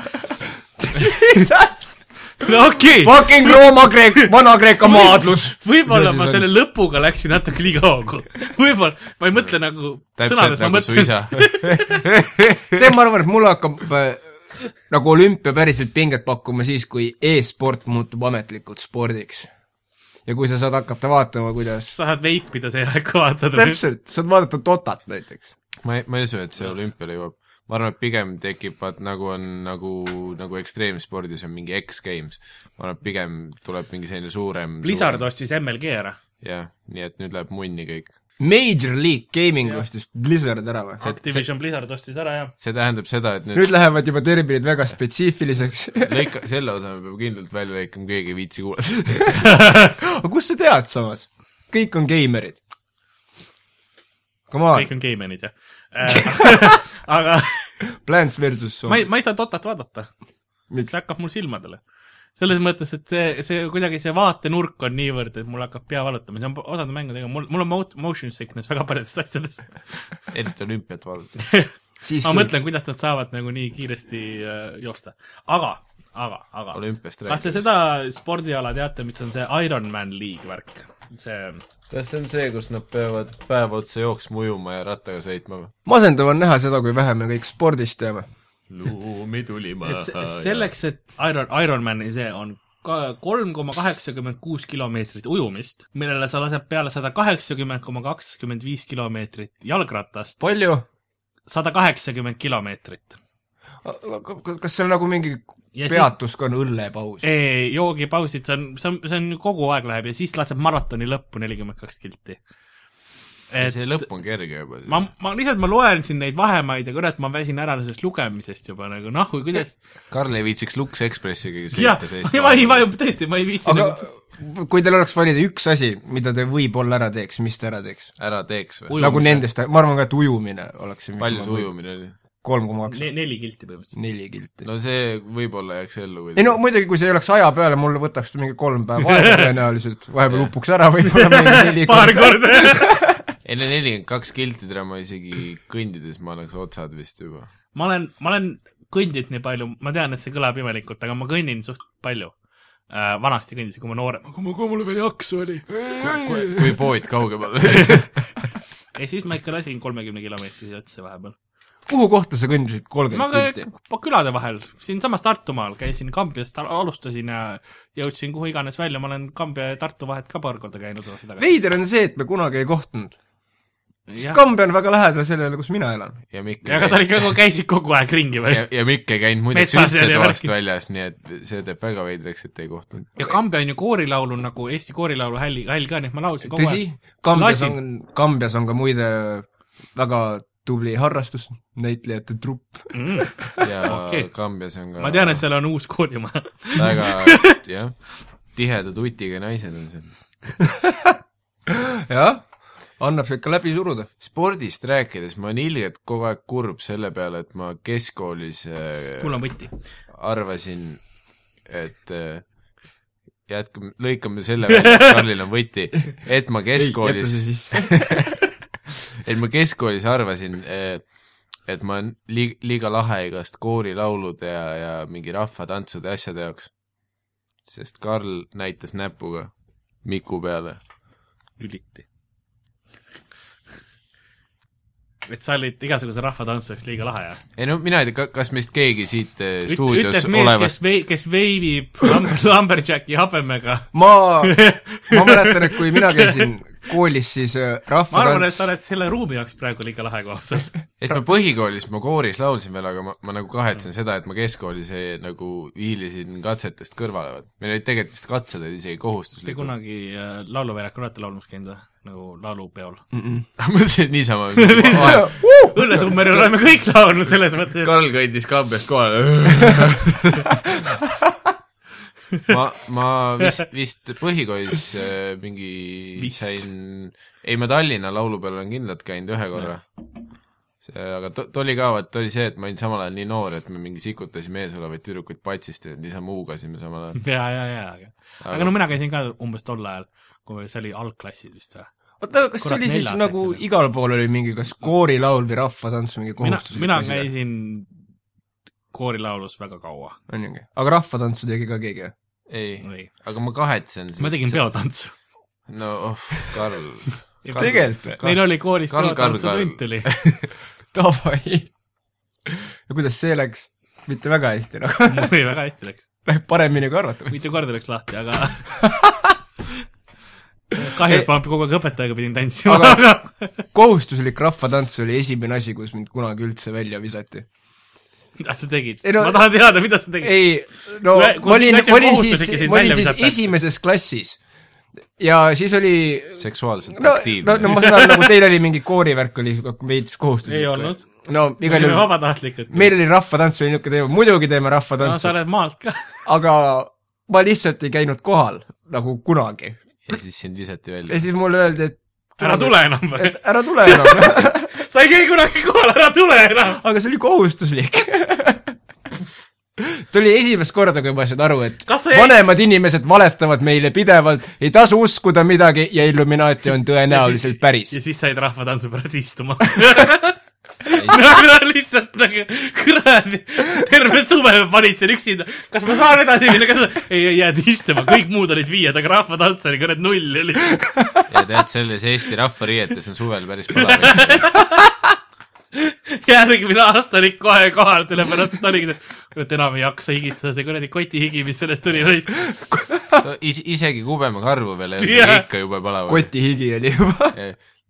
no okei okay. , Fucking Rooma-Kreek , Vana-Kreeka maadlus . võib-olla Mis ma asi see selle lõpuga läksin natuke liiga hoogu , võib-olla , ma ei mõtle nagu täpselt sõnades , ma nagu su mõtlen isa . tead , ma arvan , et mulle hakkab äh, nagu olümpia päriselt pinget pakkuma siis , kui e-sport muutub ametlikult spordiks . ja kui sa saad hakata vaatama , kuidas sa saad veipida see aeg , kui vaatad . täpselt , saad vaadata Totat näiteks . ma ei , ma ei usu , et see olümpiale jõuab . ma arvan , et pigem tekivad nagu on nagu , nagu ekstreemspordis on mingi X-Games . ma arvan , et pigem tuleb mingi selline suurem Blizzard suurem- ostis MLG ära . jah , nii et nüüd läheb munni kõik . Major League Gaming Jah. ostis Blizzard ära või ? Activision Blizzard ostis ära jah . see tähendab seda , et nüüd nüüd lähevad juba terminid väga spetsiifiliseks . lõika , selle osa me peame kindlalt välja lõikama , keegi ei viitsi kuulata . aga kust sa tead samas ? kõik on geimerid . Come kõik on , on geimenid jah . aga Plants versus ma ei , Zombie . ma ei saa Dotat vaadata , miks see ? hakkab mul silmadele . selles mõttes , et see , see kuidagi see vaatenurk on niivõrd , et mul hakkab pea valutama , see on osade mängudega , mul , mul on mo- motion sickness väga paljudest asjadest . eriti olümpiat vaadates . siis ma mõtlen , kuidas nad saavad nagu nii kiiresti äh, joosta , aga , aga , aga olümpiast kas te rääkides . seda spordiala teate , mis on see Ironman League värk ? see , kas see on see , kus nad peavad päev otsa jooksma ujuma ja rattaga sõitma või ? masendav on näha seda , kui vähe me kõik spordist teame . lumi tuli et se- . Äh, selleks , et Iron , Ironmani see on ka- kolm koma kaheksakümmend kuus kilomeetrit ujumist , millele sa lased peale sada kaheksakümmend koma kakskümmend viis kilomeetrit jalgratast , palju ? sada kaheksakümmend kilomeetrit . kas seal nagu mingi Ja siis- peatus ka on õllepaus ? E, joogipausid , see on , see on , see on ju kogu aeg läheb ja siis laseb maratoni lõppu nelikümmend kaks kilti . see lõpp on kerge juba . ma , ma lihtsalt , ma loen siin neid vahemaid ja kurat , ma väsin ära sellest lugemisest juba nagu nahku , kuidas Karl ei viitsiks Lux Expressiga jah sõita , ma ei , ma ei , tõesti , ma ei viitsi aga nagu kui teil oleks valida üks asi , mida te võib-olla ära teeks , mis te ära teeks ? ära teeks või ? Uju- nagu nendest , ma arvan ka , et ujumine oleks see , mis palju see ? ujumine oli ? kolm koma kaks , ne, neli kilti põhimõtteliselt . neli kilti . no see võib-olla jääks ellu ei no kuidagi . muidugi , kui see oleks aja peale , mul võtaks mingi kolm päeva aega tõenäoliselt , vahepeal upuks ära võib-olla mingi neli paar korda . korda enne nelikümmend kaks kilti täna ma isegi kõndides ma oleks otsad vist juba . ma olen , ma olen kõndinud nii palju , ma tean , et see kõlab imelikult , aga ma kõnnin suht palju äh, . vanasti kõndisin , kui ma noorem , kui mul , kui mul veel jaksu oli . kui pood kaugemal . ja siis ma ikka lasin kolmekümne kilomeetrise otsa vahepeal . kuhu kohta sa kõndisid ma kolmkümmend ka- kilti ? k- külade vahel , siinsamas Tartumaal käisin Kambjast , alustasin ja jõudsin kuhu iganes välja , ma olen Kambja ja Tartu vahet ka paar korda käinud osas tagasi . veider on see , et me kunagi ei kohtunud . sest Kambja on väga lähedal sellele , kus mina elan . ja Mikk aga sa olid ka , käisid kogu aeg ringi või ja ?, ja Mikk ei käinud muideks Metsas üldse oli toast värki. väljas , nii et see teeb väga veidraks , et ei kohtunud . ja Kambja on ju koorilaulu nagu Eesti koorilaulu hälli , häll ka , nii et ma laulsin kogu tõsi aeg ., Kambjas Lasin. on , Kambjas on ka muide väga tubli harrastus , näitlejate trupp . Mm. ja Okei. okay. Kambjas on ka ma tean , et seal on uus koorimaja . väga jah , tiheda tutiga naised on seal . jah , annab see ikka läbi suruda . spordist rääkides ma olen ilgelt kogu aeg kurb selle peale , et ma keskkoolis äh, mul on võti . arvasin , et äh, jätkame , lõikame selle välja , et Karlil on võti , et ma keskkoolis , sisse . et ma keskkoolis arvasin , et ma olen li- , liiga lahe igast koorilaulude ja , ja mingi rahvatantsude ja asjade jaoks . sest Karl näitas näpuga Miku peale . lüliti . et sa olid igasuguse rahvatantsuseks liiga lahe ja ? ei no mina ei tea , kas meist keegi siit äh, ütles stuudios mees , kes olevast , vei- , kes veibib lamber- lumberjacki habemega . ma , ma mäletan , et kui mina käisin koolis , siis ma äh, arvan , et rahvatants sa , oled selle ruumi jaoks praegu liiga lahe kohas . sest ma põhikoolis , ma kooris laulsin veel , aga ma , ma nagu kahetsen seda , et ma keskkoolis ei, nagu hiilisin katsetest kõrvale . meil olid tegelikult vist katsed olid isegi Te kohustuslikud . kunagi äh, lauluväljakul olete laulmas käinud või ? nagu laulupeol ? ma mõtlesin , et niisama . nagu Õllesummeril oleme kõik laulnud selles mõttes , et Karl kõndis kambjast kohale . ma , ma vist , vist põhikoolis äh, mingi Vist. sain , ei ma Tallinna laulu peal olen kindlalt käinud ühe korra . see , aga to- , tuli ka , vaat oli see , et ma olin samal ajal nii noor , et me mingi sikutasime ees olevaid tüdrukuid patsist ja niisama huugasime samal ajal . ja , ja , ja , aga , aga no mina käisin ka umbes tol ajal , kui see oli algklassid vist või ? oota , kas see Kurat, oli siis neljas nagu äkki või? igal pool oli mingi kas koorilaul või rahvatants , mingi mina , kohustuslik mina asi või? käisin koorilaulus väga kaua on ju , aga rahvatantsu tegi ka keegi või ? ei , või aga ma kahetsen . ma tegin . peotantsu . no oh , Karl . tegelikult või ? meil oli koolis Karl- Karl- peotantsutund tuli . davai . ja kuidas see läks ? mitte väga hästi nagu , mul oli väga hästi läks , läheb paremini kui arvata võiks . mitu korda läks lahti , aga kahjuks ma kogu aeg õpetajaga pidin tantsima , Aga- aga kohustuslik rahvatants oli esimene asi , kus mind kunagi üldse välja visati . mida sa tegid Ei no- ma tahan teada , mida sa tegid . ei , no Kui- kui ma olin mingi , asi ma on olin kohustus, ikka siis , sind ma olin välja siis visatakse. esimeses klassis ja siis oli seksuaalselt no , aktiivne no , no ma saan aru , nagu teil oli mingi koorivärk oli veits kohustuslik . Ei olnud. . no igal olime juhul , vabatahtlikud . meil oli rahvatants oli niisugune teema , muidugi teeme no sa rahvatantsu no, , oled maalt ka . aga ma lihtsalt ei käinud kohal nagu kunagi . ja siis sind visati välja ja . siis mulle öeldi , et ära tule enam või et ? ära tule enam , sa ei käi kunagi kohal , ära tule enam . aga see oli kohustuslik . tuli esimest korda , kui ma sain aru , et Kas sa jäid- vanemad inimesed valetavad meile pidevalt , ei tasu uskuda midagi ja Illuminati on tõenäoliselt päris ja . siis said rahvatantsu pärast istuma . lihtsalt nagu kuradi , terve suve panid seal üksinda , kas ma saan edasi minna , kas ma... ei , ei jääd istuma , kõik muud olid viied , aga rahvatants oli kurat null oli . ja tead , selles Eesti rahvariietes on suvel päris põnev . järgmine aasta olid kohe kohal , sellepärast et oligi , et kurat enam ei jaksa higistada , see kuradi kotihigi , mis sellest tuli , oli Is, isegi kubema karvu veel ei olnud Jah. , ikka jube palav oli . kotihigi oli juba .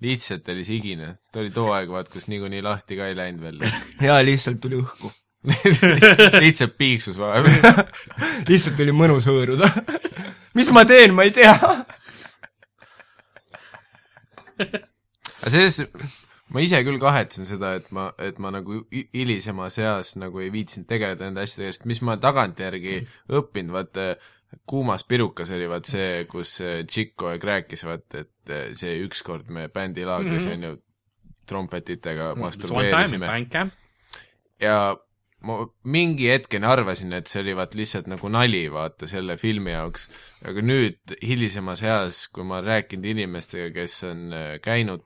lihtsalt oli see higine , ta oli too aeg , vaat kus niikuinii lahti ka ei läinud veel . ja lihtsalt tuli õhku . lihtsalt piiksus vahepeal . lihtsalt oli mõnus hõõruda . mis ma teen , ma ei tea . aga selles , ma ise küll kahetsen seda , et ma , et ma nagu hi- hilisemas eas nagu ei viitsinud tegeleda nende asjadega , sest mis ma tagantjärgi õppinud , vaata kuumas pirukas oli vaat see , kus eh, tšikk kogu aeg rääkis , vaat et eh, see ükskord me bändilaagris mm -hmm. on ju trompetitega Mm, masturbeerisime ja ma mingi hetkeni arvasin , et see oli vaat lihtsalt nagu nali , vaata , selle filmi jaoks , aga nüüd hilisemas eas , kui ma olen rääkinud inimestega , kes on äh, käinud ,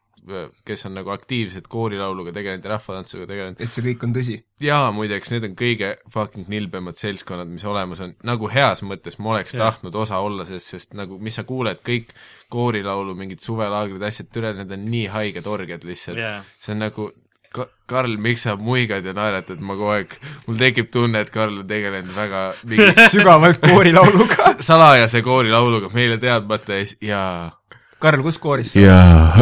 kes on nagu aktiivselt koorilauluga tegelenud ja rahvatantsuga tegelenud , et see kõik on tõsi . jaa , muideks , need on kõige fucking nilbemad seltskonnad , mis olemas on , nagu heas mõttes ma oleks Jah. yeah. tahtnud osa olla , sest , sest nagu mis sa kuuled , kõik koorilaulu , mingid suvelaagrid , asjad , türa , need on nii haiged orgiad lihtsalt Jaa. see on nagu Ka- Karl , miks sa muigad ja naeratad , ma kogu aeg , mul tekib tunne , et Karl on tegelenud väga mingi sügavalt koorilauluga . salajase koorilauluga meile teadmata ja siis jaa , Karl , kus kooris sa ? jaa .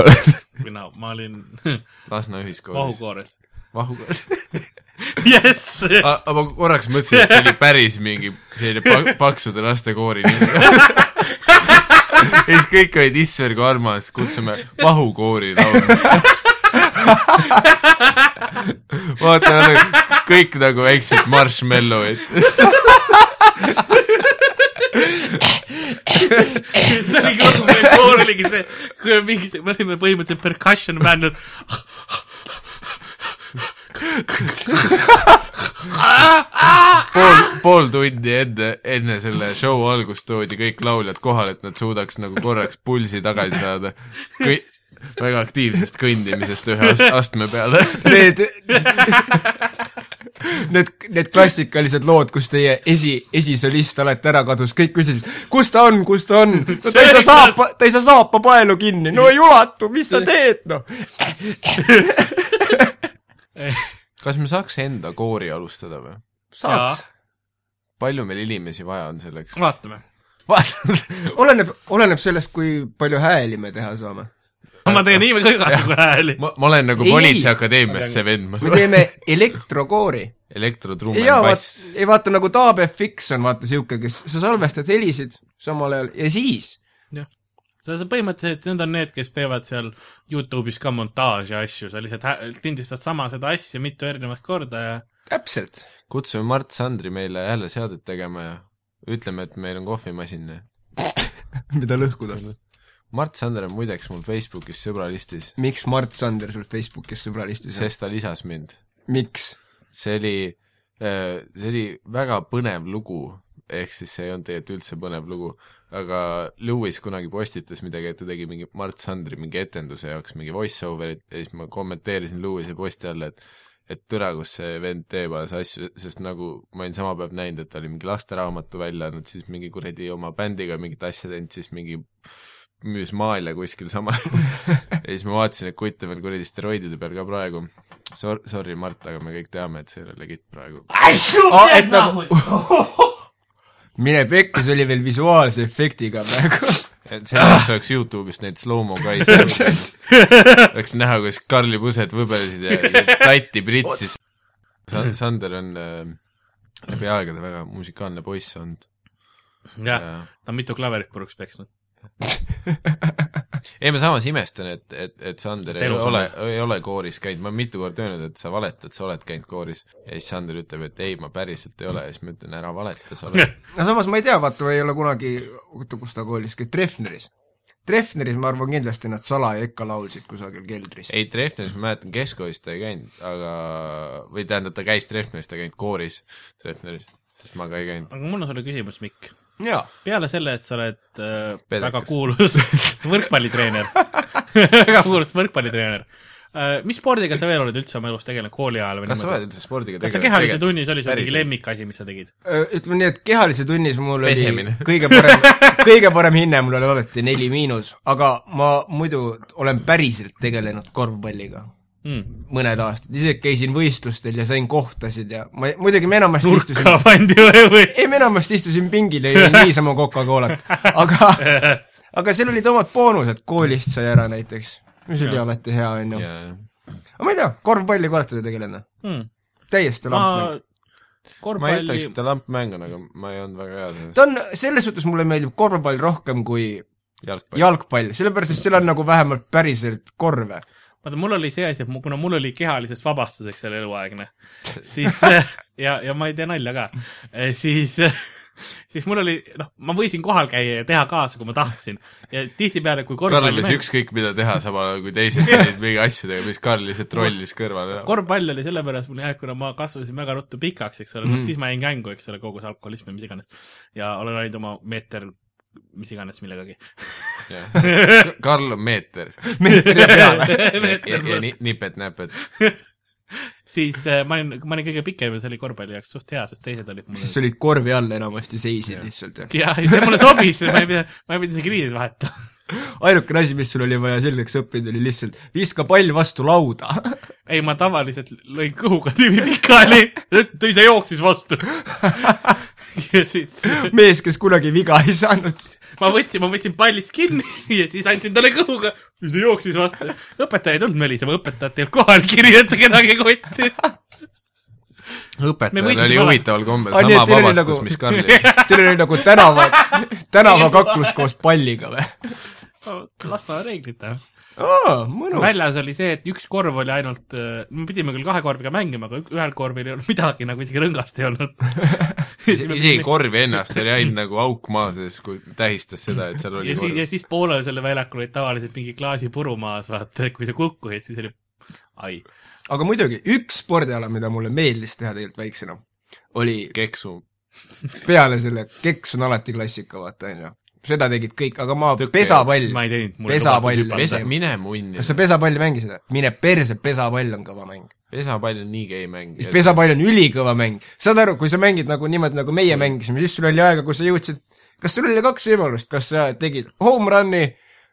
mina , ma olin Lasna ühiskoolis . vahukoores . vahukoor . jess , aga ma korraks mõtlesin , et see oli päris mingi selline pa- , paksude laste koori nimi . ja siis kõik olid Isver kui armas , kutsume vahukoori laulma . vaata , kõik nagu väiksed marshmallow'id . see oli kogu meie koor oligi see , kui me mingi , me olime põhimõtteliselt percussion bänd , pool , pool tundi enne , enne selle show algust toodi kõik lauljad kohale , et nad suudaks nagu korraks pulsi tagasi saada Kõi, . väga aktiivsest kõndimisest ühe ast- astme peale . Need , need , need klassikalised lood , kus teie esi , esisolist alati ära kadus , kõik küsisid , kus ta on , kus ta on no, . ta ei saa saapa , ta ei saa saapa paelu kinni , no ei ulatu , mis sa teed , noh . Eh, kas me saaks enda koori alustada või ? saaks . palju meil inimesi vaja on selleks ? vaatame . oleneb , oleneb sellest , kui palju hääli me teha saame . ma teen nii väga igasugu hääli . ma , ma olen nagu Ei. politseiakadeemias see vend , ma me saan , teeme elektrokoori elektrotrumm ja on vaat bass ., ei vaata nagu Taab FX on vaata siuke , kes , sa salvestad helisid samal ajal ja siis see on põhimõtteliselt , need on need , kes teevad seal Youtube'is ka montaaži asju , sa lihtsalt hä- lindistad sama seda asja mitu erinevat korda ja täpselt . kutsume Mart Sandri meile jälle seadet tegema ja ütleme , et meil on kohvimasin . mida lõhkuda ? Mart Sander on muideks mul Facebookis sõbralistis , miks Mart Sander sul Facebookis sõbralistis on ? sest ta lisas mind miks ? see oli , see oli väga põnev lugu , ehk siis see ei olnud tegelikult üldse põnev lugu , aga Lewis kunagi postitas midagi , et ta tegi mingi Mart Sandri mingi etenduse jaoks mingi voice-over'it ja siis ma kommenteerisin Lewis'e posti alla , et et türa , kus see vend teeb alles asju , sest nagu ma olin sama päev näinud , et ta oli mingi lasteraamatu välja andnud , siis mingi kuradi oma bändiga mingit asja teinud , siis mingi müüs maale kuskil sama . ja siis ma vaatasin , et kutt on veel kuradi steroidide peal ka praegu Sor- , sorry , Mart , aga me kõik teame , et see ei ole legit praegu . et nagu mine pekki , see oli veel visuaalse efektiga praegu . selleks oleks Youtube'ist neid slow-mo nagu guys . oleks näha , kuidas Karli pused võbelesid ja ja tatti pritsis . Sa- , Sander on äh, läbi aegade väga musikaalne poiss olnud . jah , ta on mitu klaverit puruks peksnud . ei , ma samas imestan , et , et , et Sander Et ei elus ole , ei ole kooris käinud , ma olen mitu korda öelnud , et sa valetad , sa oled käinud kooris . ja siis Sander ütleb , et ei , ma päriselt ei ole ja siis ma ütlen , ära valeta , sa oled . no samas ma ei tea , vaata , ma ei ole kunagi , oota , kus ta koolis käis , Treffneris . Treffneris ma arvan kindlasti nad salaja ikka laulsid kusagil keldris . ei , Treffneris ma mäletan , keskkoolis ta ei käinud , aga , või tähendab , ta käis Treffneris , ta ei käinud kooris Treffneris , sest ma ka ei käinud . aga mul on sulle küsimus , Mikk . jaa . peale selle , et sa oled äh, Pedekas. väga kuulus võrkpallitreener , väga kuulus võrkpallitreener äh, , mis spordiga sa veel oled üldse oma elus tegelenud kooli ajal või kas sa niimoodi ? oled üldse spordiga kas sa kehalise tunnis oli sul mingi Päriselt. lemmikasi , mis sa tegid ? ütleme nii , et kehalise tunnis mul Pesemine. oli kõige parem , kõige parem hinne mul oli alati neli miinus , aga ma muidu olen päriselt tegelenud korvpalliga Mm. mõned aastad , isegi käisin võistlustel ja sain kohtasid ja ma muidugi me enamasti nurka istusin , pandi või , või ? ei me enamasti istusin pingil ja jõin niisama Coca-Colat , aga , aga seal olid omad boonused , koolist sai ära näiteks , mis oli Jaa. alati hea , on ju . jaa , aga ma ei tea , korvpalliga olete te tegelenud ? täiesti Hmm. ma lampmäng . ma ei korvpalli ütleks , seda lampmänguna , aga ma ei olnud väga hea selles ta on , selles suhtes mulle meeldib korvpall rohkem kui jalgpallis . jalgpall , sellepärast et seal on nagu vähemalt päriselt korve . vaata , mul oli see asi , et mu- kuna mul oli kehalisest vabastuseks selle eluaegne , siis ja , ja ma ei tee nalja ka , siis siis mul oli , noh , ma võisin kohal käia ja teha kaasa , kui ma tahtsin ja tihtipeale , kui Karlis korvpalli ükskõik mida teha , samal ajal kui teised tegid mingi asjadega , mis Karl lihtsalt trollis kõrvale . korvpall oli sellepärast mul jah , kuna ma kasvasin väga ruttu pikaks , eks ole mm. , noh siis ma jäin kängu , eks ole , kogu see alkoholism ja mis iganes ja olen ainult oma meeter mis iganes millegagi Karl on meeter . meetri peale . ja Meeter ja pluss. ni- nipet-näpet . siis äh, ma olin , ma olin kõige pikem ja see oli korvpalli jaoks suht hea , sest teised olid mul siis olid korvi all enamasti , seisid lihtsalt ja ja ja see mulle sobis , ma ei pidanud , ma ei pidanud isegi riideid vahetama . ainukene asi , mis sul oli vaja selgeks õppida , oli lihtsalt viska pall vastu lauda . ei , ma tavaliselt lõin kõhuga tüübi pikali , ta ise jooksis vastu . ja siis mees , kes kunagi viga ei saanud . ma võtsin , ma võtsin pallist kinni ja siis andsin talle kõhuga , ta jooksis vastu . õpetaja ei tulnud mölisema , õpetajat ei olnud kohal , kirjuta kedagi kotti . Me õpetajal võitlesime oli ära. huvitaval kombel Aa, nii, sama et teil oli vabastus nagu- nagu... , mis Karlil . Teil oli nagu tänava , tänavakaklus koos palliga või ? Lasnamäe reeglid noh . aa , mõnus . väljas oli see , et üks korv oli ainult , me pidime küll kahe korviga mängima , aga ük- ühel korvil ei olnud midagi , nagu isegi rõngast ei olnud . isegi korvi ennast oli ainult nagu auk maa sees , kui tähistas seda , et seal oli ja siis , ja korv . siis poolel selle väljakul olid tavaliselt mingi klaasipuru maas , vaata , kui sa kukkusid , siis oli ai , aga muidugi , üks spordiala , mida mulle meeldis teha tegelikult väiksena , oli keksu , peale selle , keks on alati klassika , vaata , on ju . seda tegid kõik , aga ma Tõkkejooks. pesapall ma ei teinud , mul Pesapall lubatud hüpata. Pesa- pesa , mine munni nagu- kas . sa pesapalli mängisid ? mine perse , pesapall on kõva mäng . pesapall on nii gei mäng . siis pesapall on ülikõva mäng . saad aru , kui sa mängid nagu niimoodi , nagu meie mängisime , siis sul oli aega , kui sa jõudsid , kas sul oli kaks võimalust , kas sa tegid home run'i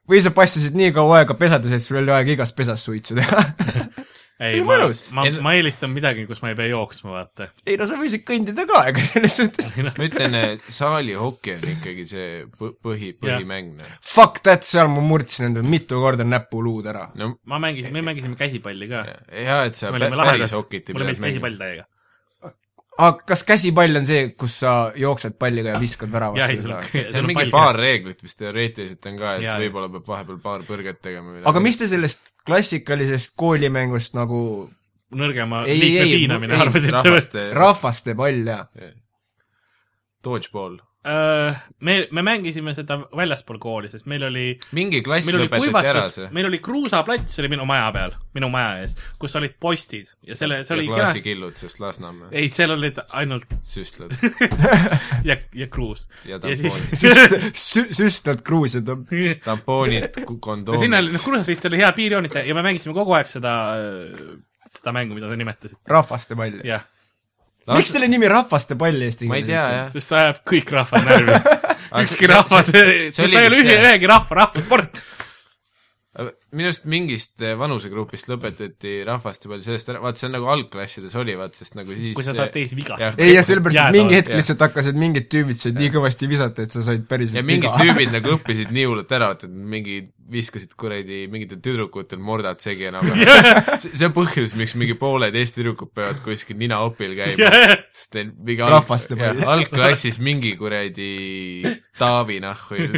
või sa passisid nii kaua aega pesades , et sul oli aega igas pesas suitsu teha . ei , Oli ma mõnus. , ma En- , ma eelistan midagi , kus ma ei pea jooksma , vaata . ei no sa võisid kõndida ka , ega selles suhtes ma ütlen , saalihoki on ikkagi see põ- põhi , Jah. põhimäng . noh. fuck that , seal ma murdsin endale mitu korda näpuluud ära . no ma mängisin , me mängisime käsipalli ka . hea , et sa me pä- olime päris lahedad , hokit ei mulle meeldis . käsipall täiega . aga kas käsipall on see , kus sa jooksed palliga ja viskad jah , ei , väravasse sul on ära ? seal on mingi paar . reeglit vist teoreetiliselt on ka , et Jaa, jaa. võib-olla peab vahepeal paar põrget tegema või aga mis te sellest klassikalisest koolimängust nagu nõrgema Ei, liikme ei, piinamine ei, arvasite või ? rahvaste Ra rahvaste pall ja dodgeball . Äh, me , me mängisime seda väljaspool kooli , sest meil oli mingi klass meil oli lõpetati ära kuivatus see , meil oli kruusaplats , oli minu maja peal , minu maja ees , kus olid postid ja selle , see ja oli kenasti , klaasikillud , sest Lasnamäe ei , seal olid ainult süstlad ja , ja kruus . Ja siis , süst- , sü- , süstad Gruusia tõmb- . tampoonid , no sinna oli , kondoomid noh , kruusas vist oli hea piirjoonitaja ja me mängisime kogu aeg seda , seda mängu , mida te nimetasite , rahvaste pall . jah . miks selle nimi rahvaste pall eesti ma ei tea jah . sest see ajab kõik rahvad närvi . ükski rahvas , ta see ei oli ole vist ühe , jah. ühegi rahva rahvasport . minu arust mingist eh, vanusegrupist lõpetati rahvast juba sellest ära , vaat see on nagu algklassides oli , vaat sest nagu siis kui sa saad teisi jah. vigastada . ei jah , sellepärast , et Jäädavalt, mingi hetk jah. lihtsalt hakkasid mingid tüübid sind nii kõvasti visata , et sa said ja päriselt mingid tüübid nagu õppisid nii hullult ära , et mingi viskasid kuradi mingitel tüdrukutel mordad segi enam . see see on põhjus , miks mingi pooled Eesti tüdrukud peavad kuskil ninaopil käima , sest neil mingi Rahvaste jah, palju. algklassis mingi kuradi Taavi nahhu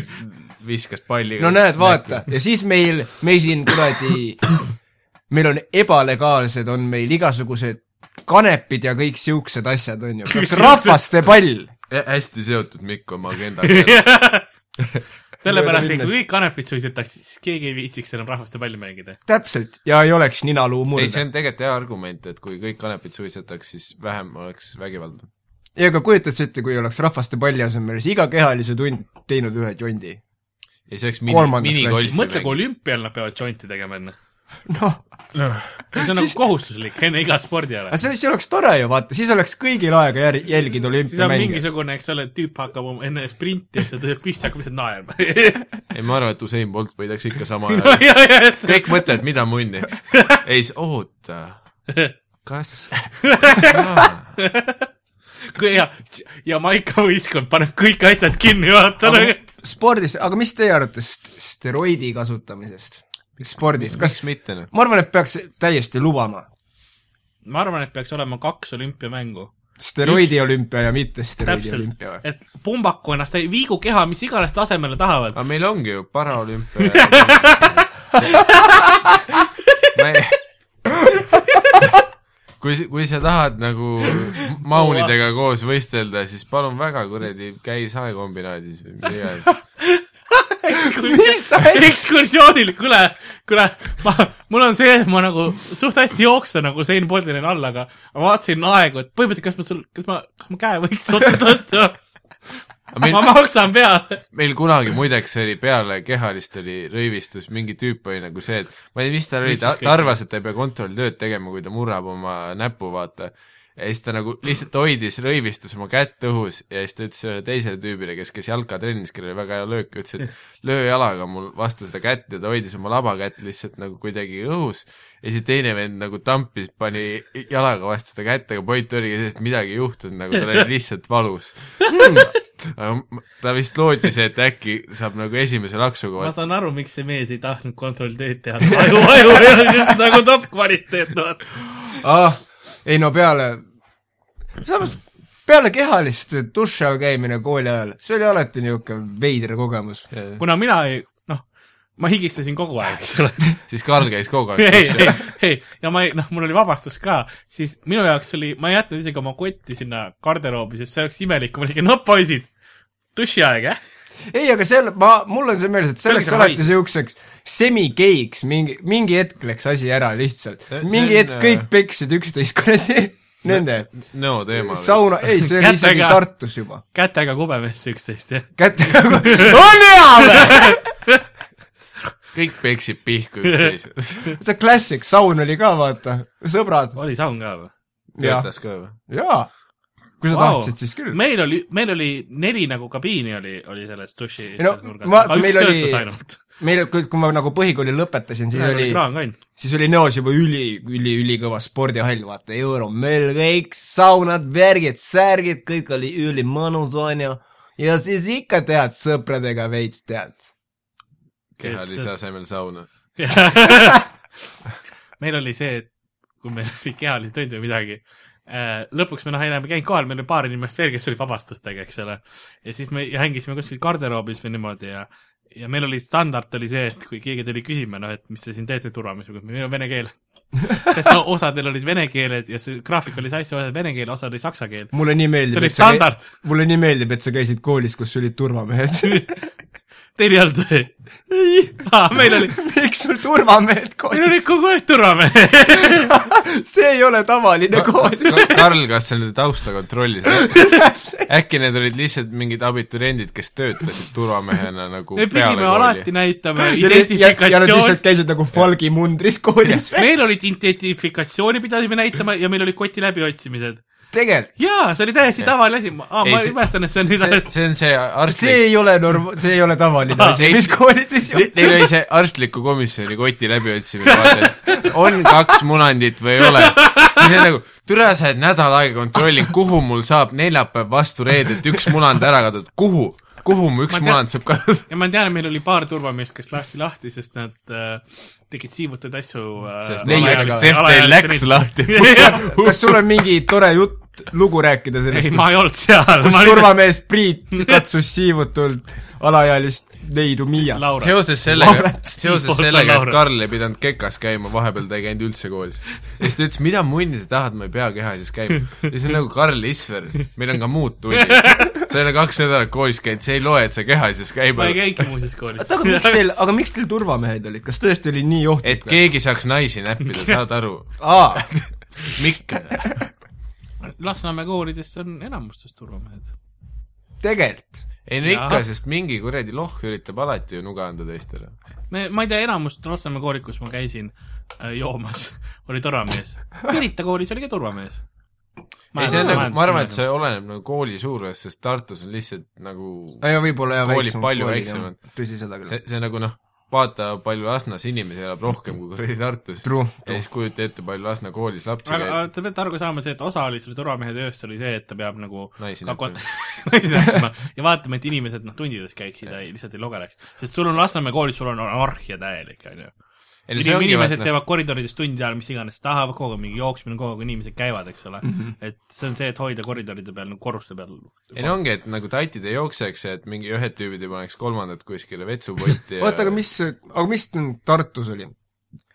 viskas palli . no näed , vaata , ja siis meil , me siin kuradi , meil on ebalegaalsed , on meil igasugused kanepid ja kõik siuksed asjad , on ju , Kõik rahvaste pall . hästi seotud Mikk oma agendaga . sellepärast , et Mööda minnes. kui kõik kanepid suitsetaks , siis keegi ei viitsiks enam rahvaste palli mängida . täpselt , ja ei oleks ninaluu ei , see murde . on tegelikult hea argument , et kui kõik kanepid suitsetaks , siis vähem oleks vägivalda . ja aga kujutad sa ette , kui oleks rahvaste palli asemel siis iga kehalise tund teinud ühe jondi ? ja see oleks Kolmandas mini , minigolfi mõtle , kui . olümpial nad peavad jointi tegema enne . noh , see on nagu kohustuslik enne iga spordiala aga . Ah, see , see oleks tore ju , vaata , siis oleks kõigil aega jär- , jälgida siis on olümpiamänge . mingisugune , eks ole , tüüp hakkab oma- enne sprinti ja siis ta tõuseb püsti , hakkab lihtsalt naerma . ei , ma arvan , et Usain Bolt võidaks ikka sama ajal . kõik mõtlevad , mida munni . ei , siis oota , kas ja , ja Maiko Võistkond paneb kõik asjad kinni , vaata . nagu. spordis , aga mis teie arvate st- steroidi kasutamisest ? spordis , kas , kas mitte noh ? ma arvan , et peaks täiesti lubama . ma arvan , et peaks olema kaks olümpiamängu . steroidi olümpia ja mitte steroidi täpselt olümpia , või ? et pumbaku ennast , viigu keha , mis iganes tasemele tahavad . Ah. aga meil ongi ju paraolümpia . ma ei kui , kui sa tahad nagu maunidega koos võistelda , siis palun väga , kuradi , käi saekombinaadis või mida iganes . ekskursioonil , kuule , kuule , ma , mul on see , et ma nagu suht hästi jooksen nagu Sein Boltini all , aga ma vaatasin aegu , et põhimõtteliselt kas ma sul , kas ma , kas ma käe võiks otsa tõsta ? meil- ma maksan peale . meil kunagi muideks oli peale kehalist oli rõivistus , mingi tüüp oli nagu see , et ma ei tea , mis tal oli , ta, ta arvas , et ta ei pea kontrolltööd tegema , kui ta murrab oma näpu , vaata . ja siis ta nagu lihtsalt hoidis rõivistus oma kätt õhus ja siis ta ütles ühele teisele tüübile , kes käis jalkatrennis , kellel oli väga hea löök , ütles , et löö jalaga mul vastu seda kätt ja ta hoidis oma labakätt lihtsalt nagu kuidagi õhus ja siis teine vend nagu tampis , pani jalaga vastu seda kätt , aga point oligi selles , et midagi ei juhtunud , nagu tal oli lihtsalt valus aga m- ta vist lootis , et äkki saab nagu esimese laksuga ma vaata , saan aru , miks see mees ei tahtnud kontrolltööd teha , aju , aju ei olnud just nagu top kvaliteet , noh. vaata . ah, . ei no peale , samas peale kehalist duši all käimine kooli ajal , see oli alati niisugune veider kogemus . kuna mina ei , noh , ma higistasin kogu aeg , eks ole siis Karl käis kogu ei , aeg ei , ei , ja ma ei , noh , mul oli vabastus ka , siis minu jaoks oli , ma ei jätnud isegi oma kotti sinna garderoobi , sest see oleks imelik , kui ma olin , no poisid , dušiaeg , jah ? ei , aga seal , ma , mul on see meeles , et see läks See oli alati see niisuguseks semikeiks , mingi , mingi hetk läks asi ära lihtsalt See- . see on, mingi äh, hetk kõik peksid üksteist kuradi nende nõo teema . sauna , ei , see oli isegi Kätega. Tartus juba . kätega kubemesse üksteist , jah ? kätte , on hea või ? kõik peksid pihku üksteisele . see klassik , saun oli ka , vaata , sõbrad oli saun ka või ? ja , töötas ka või ? jaa . kui sa wow. tahtsid , siis küll . meil oli , meil oli neli nagu kabiini oli , oli selles duši Ei no, ma- meil oli- ainult . meil , kui , kui ma nagu põhikooli lõpetasin , siis meil oli oli , kraan ka ainult . siis oli näos juba üli , üli , ülikõva spordihall , vaata , Euro , meil kõik saunad , värgid , särgid , kõik oli ülimõnus , onju . ja siis ikka tead sõpradega veits tead . kehalise asemel sauna . meil oli see , et kui meil oli kehalisi tunde või midagi , lõpuks me noh , enam ei käinud kohal , meil oli paar inimest veel , kes olid vabastustega , eks ole . ja siis me hängisime kuskil garderoobis või niimoodi ja , ja meil oli standard oli see , et kui keegi tuli küsima , noh , et mis te siin teete turvamisega , meil on vene keel . et no osadel olid vene keeled ja see graafik oli sassi , osad vene keel , osad oli saksa keel . mulle nii meeldib . See oli standard. . mulle nii meeldib , et sa käisid koolis , kus olid turvamehed . Teil ei olnud või ? meil oli , miks sul turvamehed meil olid koolis ? kogu aeg turvamehed . see ei ole tavaline kool . Karl , kas sa nende tausta kontrollisid ? äkki need olid lihtsalt mingid abituriendid , kes töötasid turvamehena nagu me pidime alati peale näitama ja nad identifikatsiooni lihtsalt . käisid nagu falgi mundris koolis . meil olid identifikatsiooni pidasime näitama ja meil olid koti läbiotsimised . tegelikult . jaa , see oli täiesti tavaline asi , aa , Ei, ma see- imestan , et see on nüüd see , alles , see on see arstlik see ei ole norm- , see ei ole tavaline asi , mis koolides Ne- juhtub . Neil oli see arstliku komisjoni koti läbiotsimine , vaata , et on kaks munandit või ei ole . siis oli nagu , türa sa oled nädal aega kontrollinud , kuhu mul saab neljapäev vastu reedet üks munand ära kadunud , kuhu , kuhu mu üks Ma tean- munand saab kadunud ? ja ma tean , meil oli paar turvameest , kes lasti lahti , sest nad äh, tegid siivutud asju äh, sest neil- alaealiste- sest neil alaealiste läks riik- lahti . kas sul on mingi tore jutt , lugu rääkida ei , sellest , ma ei olnud seal , kus ma olin turvamees Priit katsus siivutult alaealist leidu Miia ? Laura . seoses sellega , seoses Laura- sellega , et Laura. Karl ei pidanud kekas käima , vahepeal ta ei käinud üldse koolis . ja siis ta ütles , mida munni sa tahad , ma ei pea kehasis käima . ja siis on nagu Karl Isver , meil on ka muud tunnid . sa ei ole kaks nädalat koolis käinud , see ei loe , et sa kehasis ma käima ei . käigi muuseas koolis . oota , aga miks teil , aga miks teil turvamehed olid , kas tõesti oli nii et ohtlik ? keegi saaks naisi näppida , saad aru ? aa , Mikker . Lasnamäe koolides on enamustes turvamehed . tegelikult . ei no ikka Jaa. , sest mingi kuradi lohh üritab alati ju nuga anda teistele . me , ma ei tea , enamust Lasnamäe koolit , kus ma käisin äh, joomas , oli turvamees . Pirita koolis oli ka turvamees . ei , see on nagu , ma arvan , et see oleneb nagu kooli suurusest , sest Tartus on lihtsalt nagu no ja võib-olla jah , Koolid väiksemad palju koolid, väiksemad. jah. tõsi , seda see küll ., see nagu noh , vaata , palju Lasnas inimesi elab rohkem kui kuradi Tartus . True, ja siis kujuta ette , palju Lasna koolis lapsi aga käib aga . te peate aru ka saama see , et osa oli selle turvamehe tööst oli see , et ta peab nagu Naisi ka kon- näppima. naisi näppima ja vaatama , et inimesed noh , tundides käiksid ja ei- lihtsalt ei lugeleks . sest sul on Lasnamäe koolis , sul on anarhia täielik , on ju . inimesed teevad koridorides tundi ajal , mis iganes tahavad , kogu aeg mingi jooksmine , kogu aeg inimesed käivad , eks ole mm . -hmm. et see on see , et hoida koridoride peal , korruste peal . Mhm. ei no ongi , et nagu tatid ei jookseks , et mingi ühed tüübid ei paneks kolmandat kuskile vetsupotti ja oota , aga mis , aga mis nüüd Tartus oli ?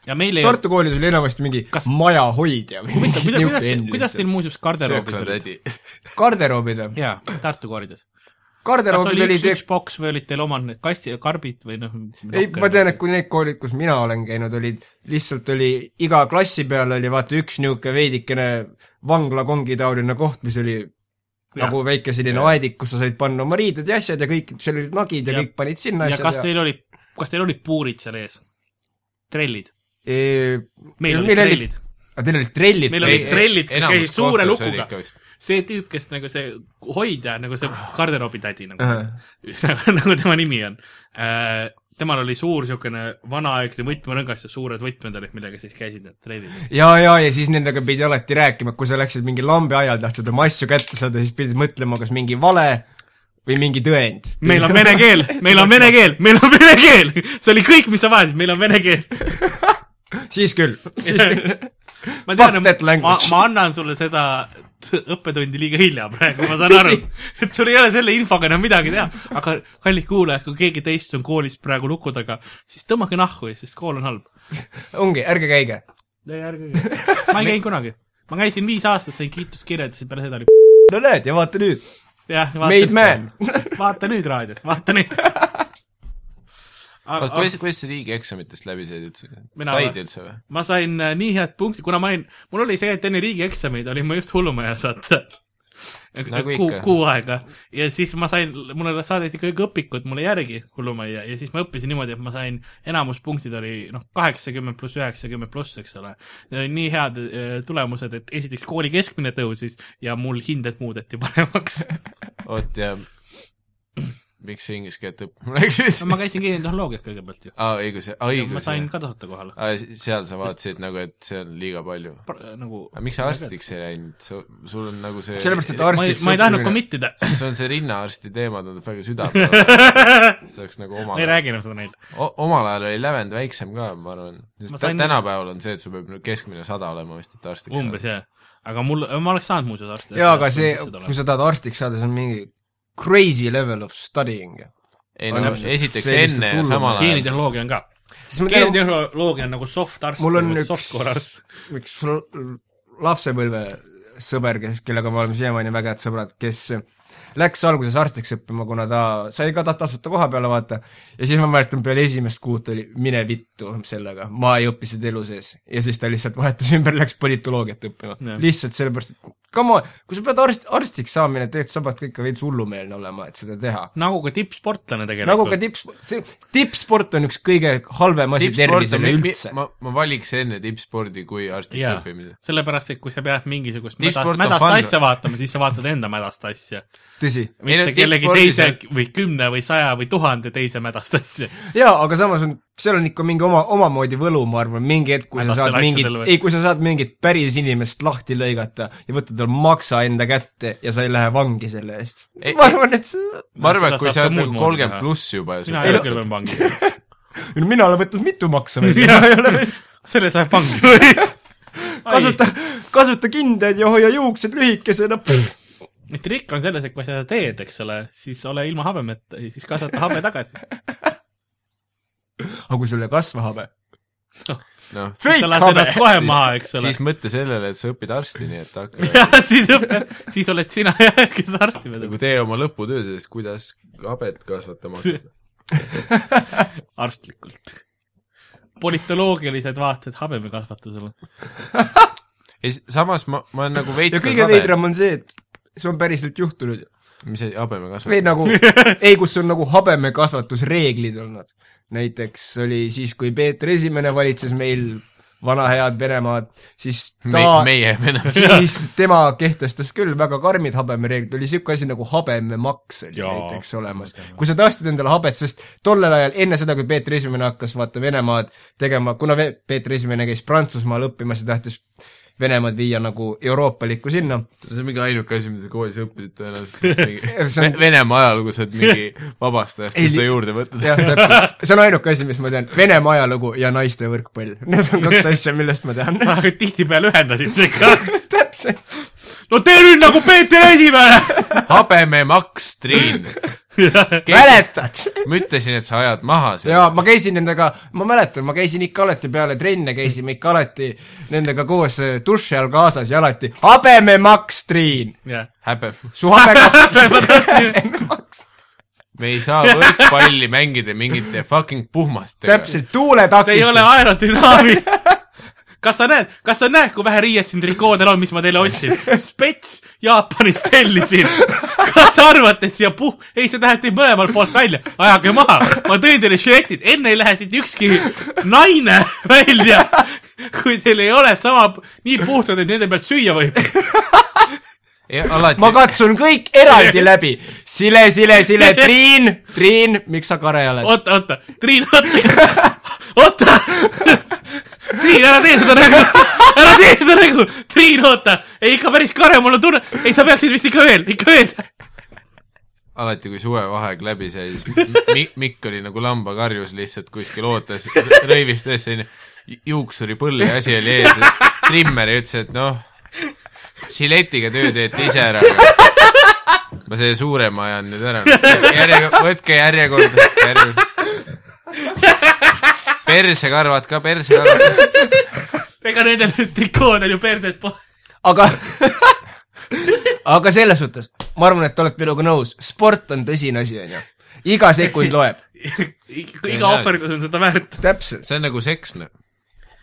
ja meil ei Tartu koolis oli enamasti mingi Kas- Kas... majahoidja või huvitav , mingi kuidas , niisugune kuidas , endine kuidas teil muuseas garderoobid olid ? sööklatädi . garderoobid või ? jaa , Tartu koorides . kas garderoobid oli olid üks , üks boks või olid teil omad need kasti , karbid või noh ? ei , ma tean , et kui need koolid , kus mina olen käinud , olid , lihtsalt oli iga klassi peal oli vaata üks niisugune veidikene vanglakongi taoline koht , mis oli ja. nagu väike selline aedik , kus sa said panna oma riided ja asjad ja kõik , seal olid nagid ja, Ja- ja kõik panid sinna ja kas asjad ja, teil oli , kas teil olid puurid seal ees ? trellid ? ja... . meil olid trellid .. aga teil olid trellid Meil või? olid trellid, kes käisid suure lukuga. vist . see tüüp , kes nagu see hoidja , nagu see garderoobi tädi nagu Ahah. , nagu tema nimi on äh, . temal oli suur niisugune vanaaegne võtmerõngas ja suured võtmed olid , millega siis käisid need trellid . ja , ja , ja siis nendega pidi alati rääkima , kui sa läksid mingi lambi aial , tahtsid oma asju kätte saada , siis pidid mõtlema , kas mingi vale või mingi tõend . meil on vene keel , meil on vene keel , meil on vene keel , see oli kõik , mis sa vajasid , meil on vene keel . siis küll , siis küll . ma Fuck tean , ma, that ma language. ma annan sulle seda t- õppetundi liiga hilja praegu , ma saan aru Tõsi. , et sul ei ole selle infoga enam midagi teha , aga kallid kuulajad , kui keegi teist on koolis praegu luku taga , siis tõmmake nahku , sest kool on halb . ongi , ärge käige . ei , ärge käige . ma ei käinud kunagi . ma käisin viis aastat , sain kiituskirjad ja siis peale seda oli no näed , ja vaata nüüd , jah . made man . vaata nüüd raadios , vaata nüüd . oota , kuidas , kuidas sa riigieksamitest läbi said üldse ? Mina said või? üldse või ? ma sain äh, nii head punkti , kuna ma olin , mul oli see , et enne riigieksameid olin ma just hullumajas , vaata . Nagu kuu ikka. , kuu aega ja siis ma sain , mulle saadeti kõik õpikud mulle järgi hullumajja ja siis ma õppisin niimoodi , et ma sain , enamus punktid oli noh , kaheksakümmend pluss üheksakümmend pluss , eks ole . Need olid nii head äh, tulemused , et esiteks kooli keskmine tõusis ja mul hinded muudeti paremaks . oot ja miks sa inglise keelt õppima läksid ? ma käisin geenitehnoloogiat kõigepealt ju . aa , õigus , õigus . ma sain ka tasuta kohale , aa , seal sa vaatasid nagu , et see on liiga palju . nagu . aga miks sa ? arstiks ei läinud , su , sul on nagu see sellepärast , et ma ei arstiks , ma ei tahtnud . commit ida . sul on see rinnaarsti teema tundub väga süda peal . see oleks nagu ma ei omal , räägi enam seda neile . omal ajal oli lävend väiksem ka , ma arvan . sest Ma ta- sain- tänapäeval on see , et sul peab nüüd keskmine sada olema vist , et arstiks umbes jah , aga mul , ma oleks saanud muuseas arsti . jaa , aga see , kui sa tahad arstiks saada , see on mingi crazy level of studying . ei On no täpselt. esiteks See lihtsalt enne ja hullum. samal ajal . geenitehnoloogia on ka . siis ma tean , geenitehnoloogia on nagu soft arst , Mul on nagu üks- soft core arst . üks l- lapsepõlve sõber , kes , kellega me oleme siiamaani väga head sõbrad , kes läks alguses arstiks õppima , kuna ta sai ka ta tasuta koha peale , vaata , ja siis ma mäletan , peale esimest kuud oli mine vittu sellega , ma ei õppi seda elu sees . ja siis ta lihtsalt vahetas ümber , läks politoloogiat õppima Jah. yeah. . lihtsalt sellepärast , et come on , kui sa pead arst , arstiks saamine , tegelikult sa pead ka ikka veits hullumeelne olema , et seda teha . nagu ka tippsportlane nagu ka tegelikult . tipps , see tippsport on üks kõige halvem asi tervisele üldse . ma , ma valiks enne tippspordi kui arstiks yeah. jaa õppimise ., sellepärast , et kui sa pead mingisugust mädast, Tippsport on mädast fun. asja vaatama , siis sa vaatad enda mädast asja . tõsi Ei no mitte kellegi tippspordis teise on- või kümne või saja või tuhande teise mädast asja . jaa , aga samas on , seal on ikka mingi oma , omamoodi võlu , ma arvan , mingi hetk , kui sa Hädastel saad mingit asjadel , või? ei , kui sa saad mingit päris inimest lahti lõigata ja võtta tal maksa enda kätte ja sa ei lähe vangi selle eest Ei- . ma arvan , et see , ma arvan , et Seda kui saab sa ka oled muud nagu moodi teha. kolmkümmend pluss juba ja sa mina teed ei ole küll veel vangi . mina olen võtnud mitu maksa välja . selles läheb vangi . kasuta , kasuta kindaid ja hoia juuksed lühikesena . nüüd trikk on selles , et kui sa seda teed , eks ole , siis ole ilma habemeta ja siis kasvata habe tagasi . aga kui sul ei kasva habe ? noh , sa lased ennast kohe maha , eks ole siis . mõtle sellele , et sa õpid arsti , nii et hakka jah , siis , siis oled sina , kes arsti peab . nagu tee oma lõputöö sellest , kuidas habet kasvatama hakata . arstlikult . politoloogilised vaated habemekasvatusele . ja s- samas ma , ma olen nagu veits ja kõige veidram on see , et see on päriselt juhtunud . mis see habeme või kasvatamine nagu , ei , kus on nagu habemekasvatusreeglid olnud . näiteks oli siis , kui Peeter Esimene valitses meil vana head Venemaad , siis Me, ta , meie venelased . siis tema kehtestas küll väga karmid habemereeglid , oli niisugune asi nagu habememaks oli Jaa. näiteks olemas . kui sa tahtsid endale habet , sest tollel ajal enne seda , kui Peeter Esimene hakkas vaata Venemaad tegema , kuna Ve- Peeter Esimene käis Prantsusmaal õppimas ja tahtis Venemaad viia nagu euroopalikku sinna , see on mingi ainuke asi , mida sa koolis õppisid tõenäoliselt mingi... See on- on... . Venemaa ajalugu saad mingi vabastajast Ei, seda li- juurde võtta . jah , täpselt . see on ainuke asi , mis ma tean . Venemaa ajalugu ja naiste võrkpall . Need on kaks asja , millest ma tean . sa nagu tihtipeale ühendasid neid ka . täpselt . no tee nüüd nagu Peeter Esimene . habememaks , Triin . mäletad ? ma ütlesin , et sa ajad maha selle . jaa , ma käisin nendega , ma mäletan , ma käisin ikka alati peale trenne , käisime ikka alati nendega koos äh, duši all kaasas ja alati habememaks , Triin . jah , häbe . su habekas . me ei saa võrkpalli mängida mingite fucking puhmastega . täpselt , tuule see ei ole takistus . aerodünaami . kas sa näed , kas sa näed , kui vähe riiet siin trikoodel on , mis ma teile ostsin ? spets Jaapanist tellisin . kas te arvate , et siia puh- , ei , see läheb teil mõlemalt poolt välja , ajage maha . ma tõin teile šiletid , enne ei lähe siit ükski naine välja , kui teil ei ole sama , nii puhtad , et nende pealt süüa võib . alati ma katsun kõik eraldi läbi . sile , sile , sile , Triin , Triin , miks sa kare oled ? oota , oota , Triin , oota , oota . Triin , ära tee seda nägu , ära tee seda nägu , Triin , oota , ei ikka päris kare , mul on tunne , ei sa peaksid vist ikka veel , ikka veel . alati , kui suvevaheaeg läbi sai , siis mi- , Mikk oli nagu lambakarjus lihtsalt kuskil ootas , rõivis tõesti selline ju- juuksuripõll ja asi oli ees , trimmer ja ütles , et noh , žiletiga töö teete ise ära . ma selle suurema ajan nüüd ära . järjekord , võtke järjekord , järjekord . persekarvad ka , persekarvad . ega nendel trikoodel ju perset pole . aga aga selles suhtes , ma arvan , et oled minuga nõus , sport on tõsine asi , onju . iga sekund loeb . iga ohverdus on seda väärt . täpselt , see on nagu seks noh.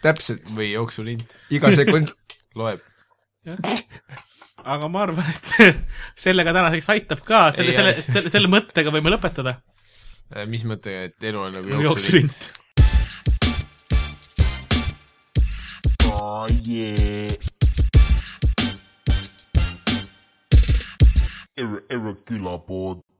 täpselt , või jooksulint , iga sekund . loeb . aga ma arvan , et sellega tänaseks aitab ka , selle , Ei, selle , ei. selle , selle mõttega võime lõpetada . Eh, mis mõttega , et elu on nagu jooksulint ? jooksulint . Oh yeah. Ir- irregular board.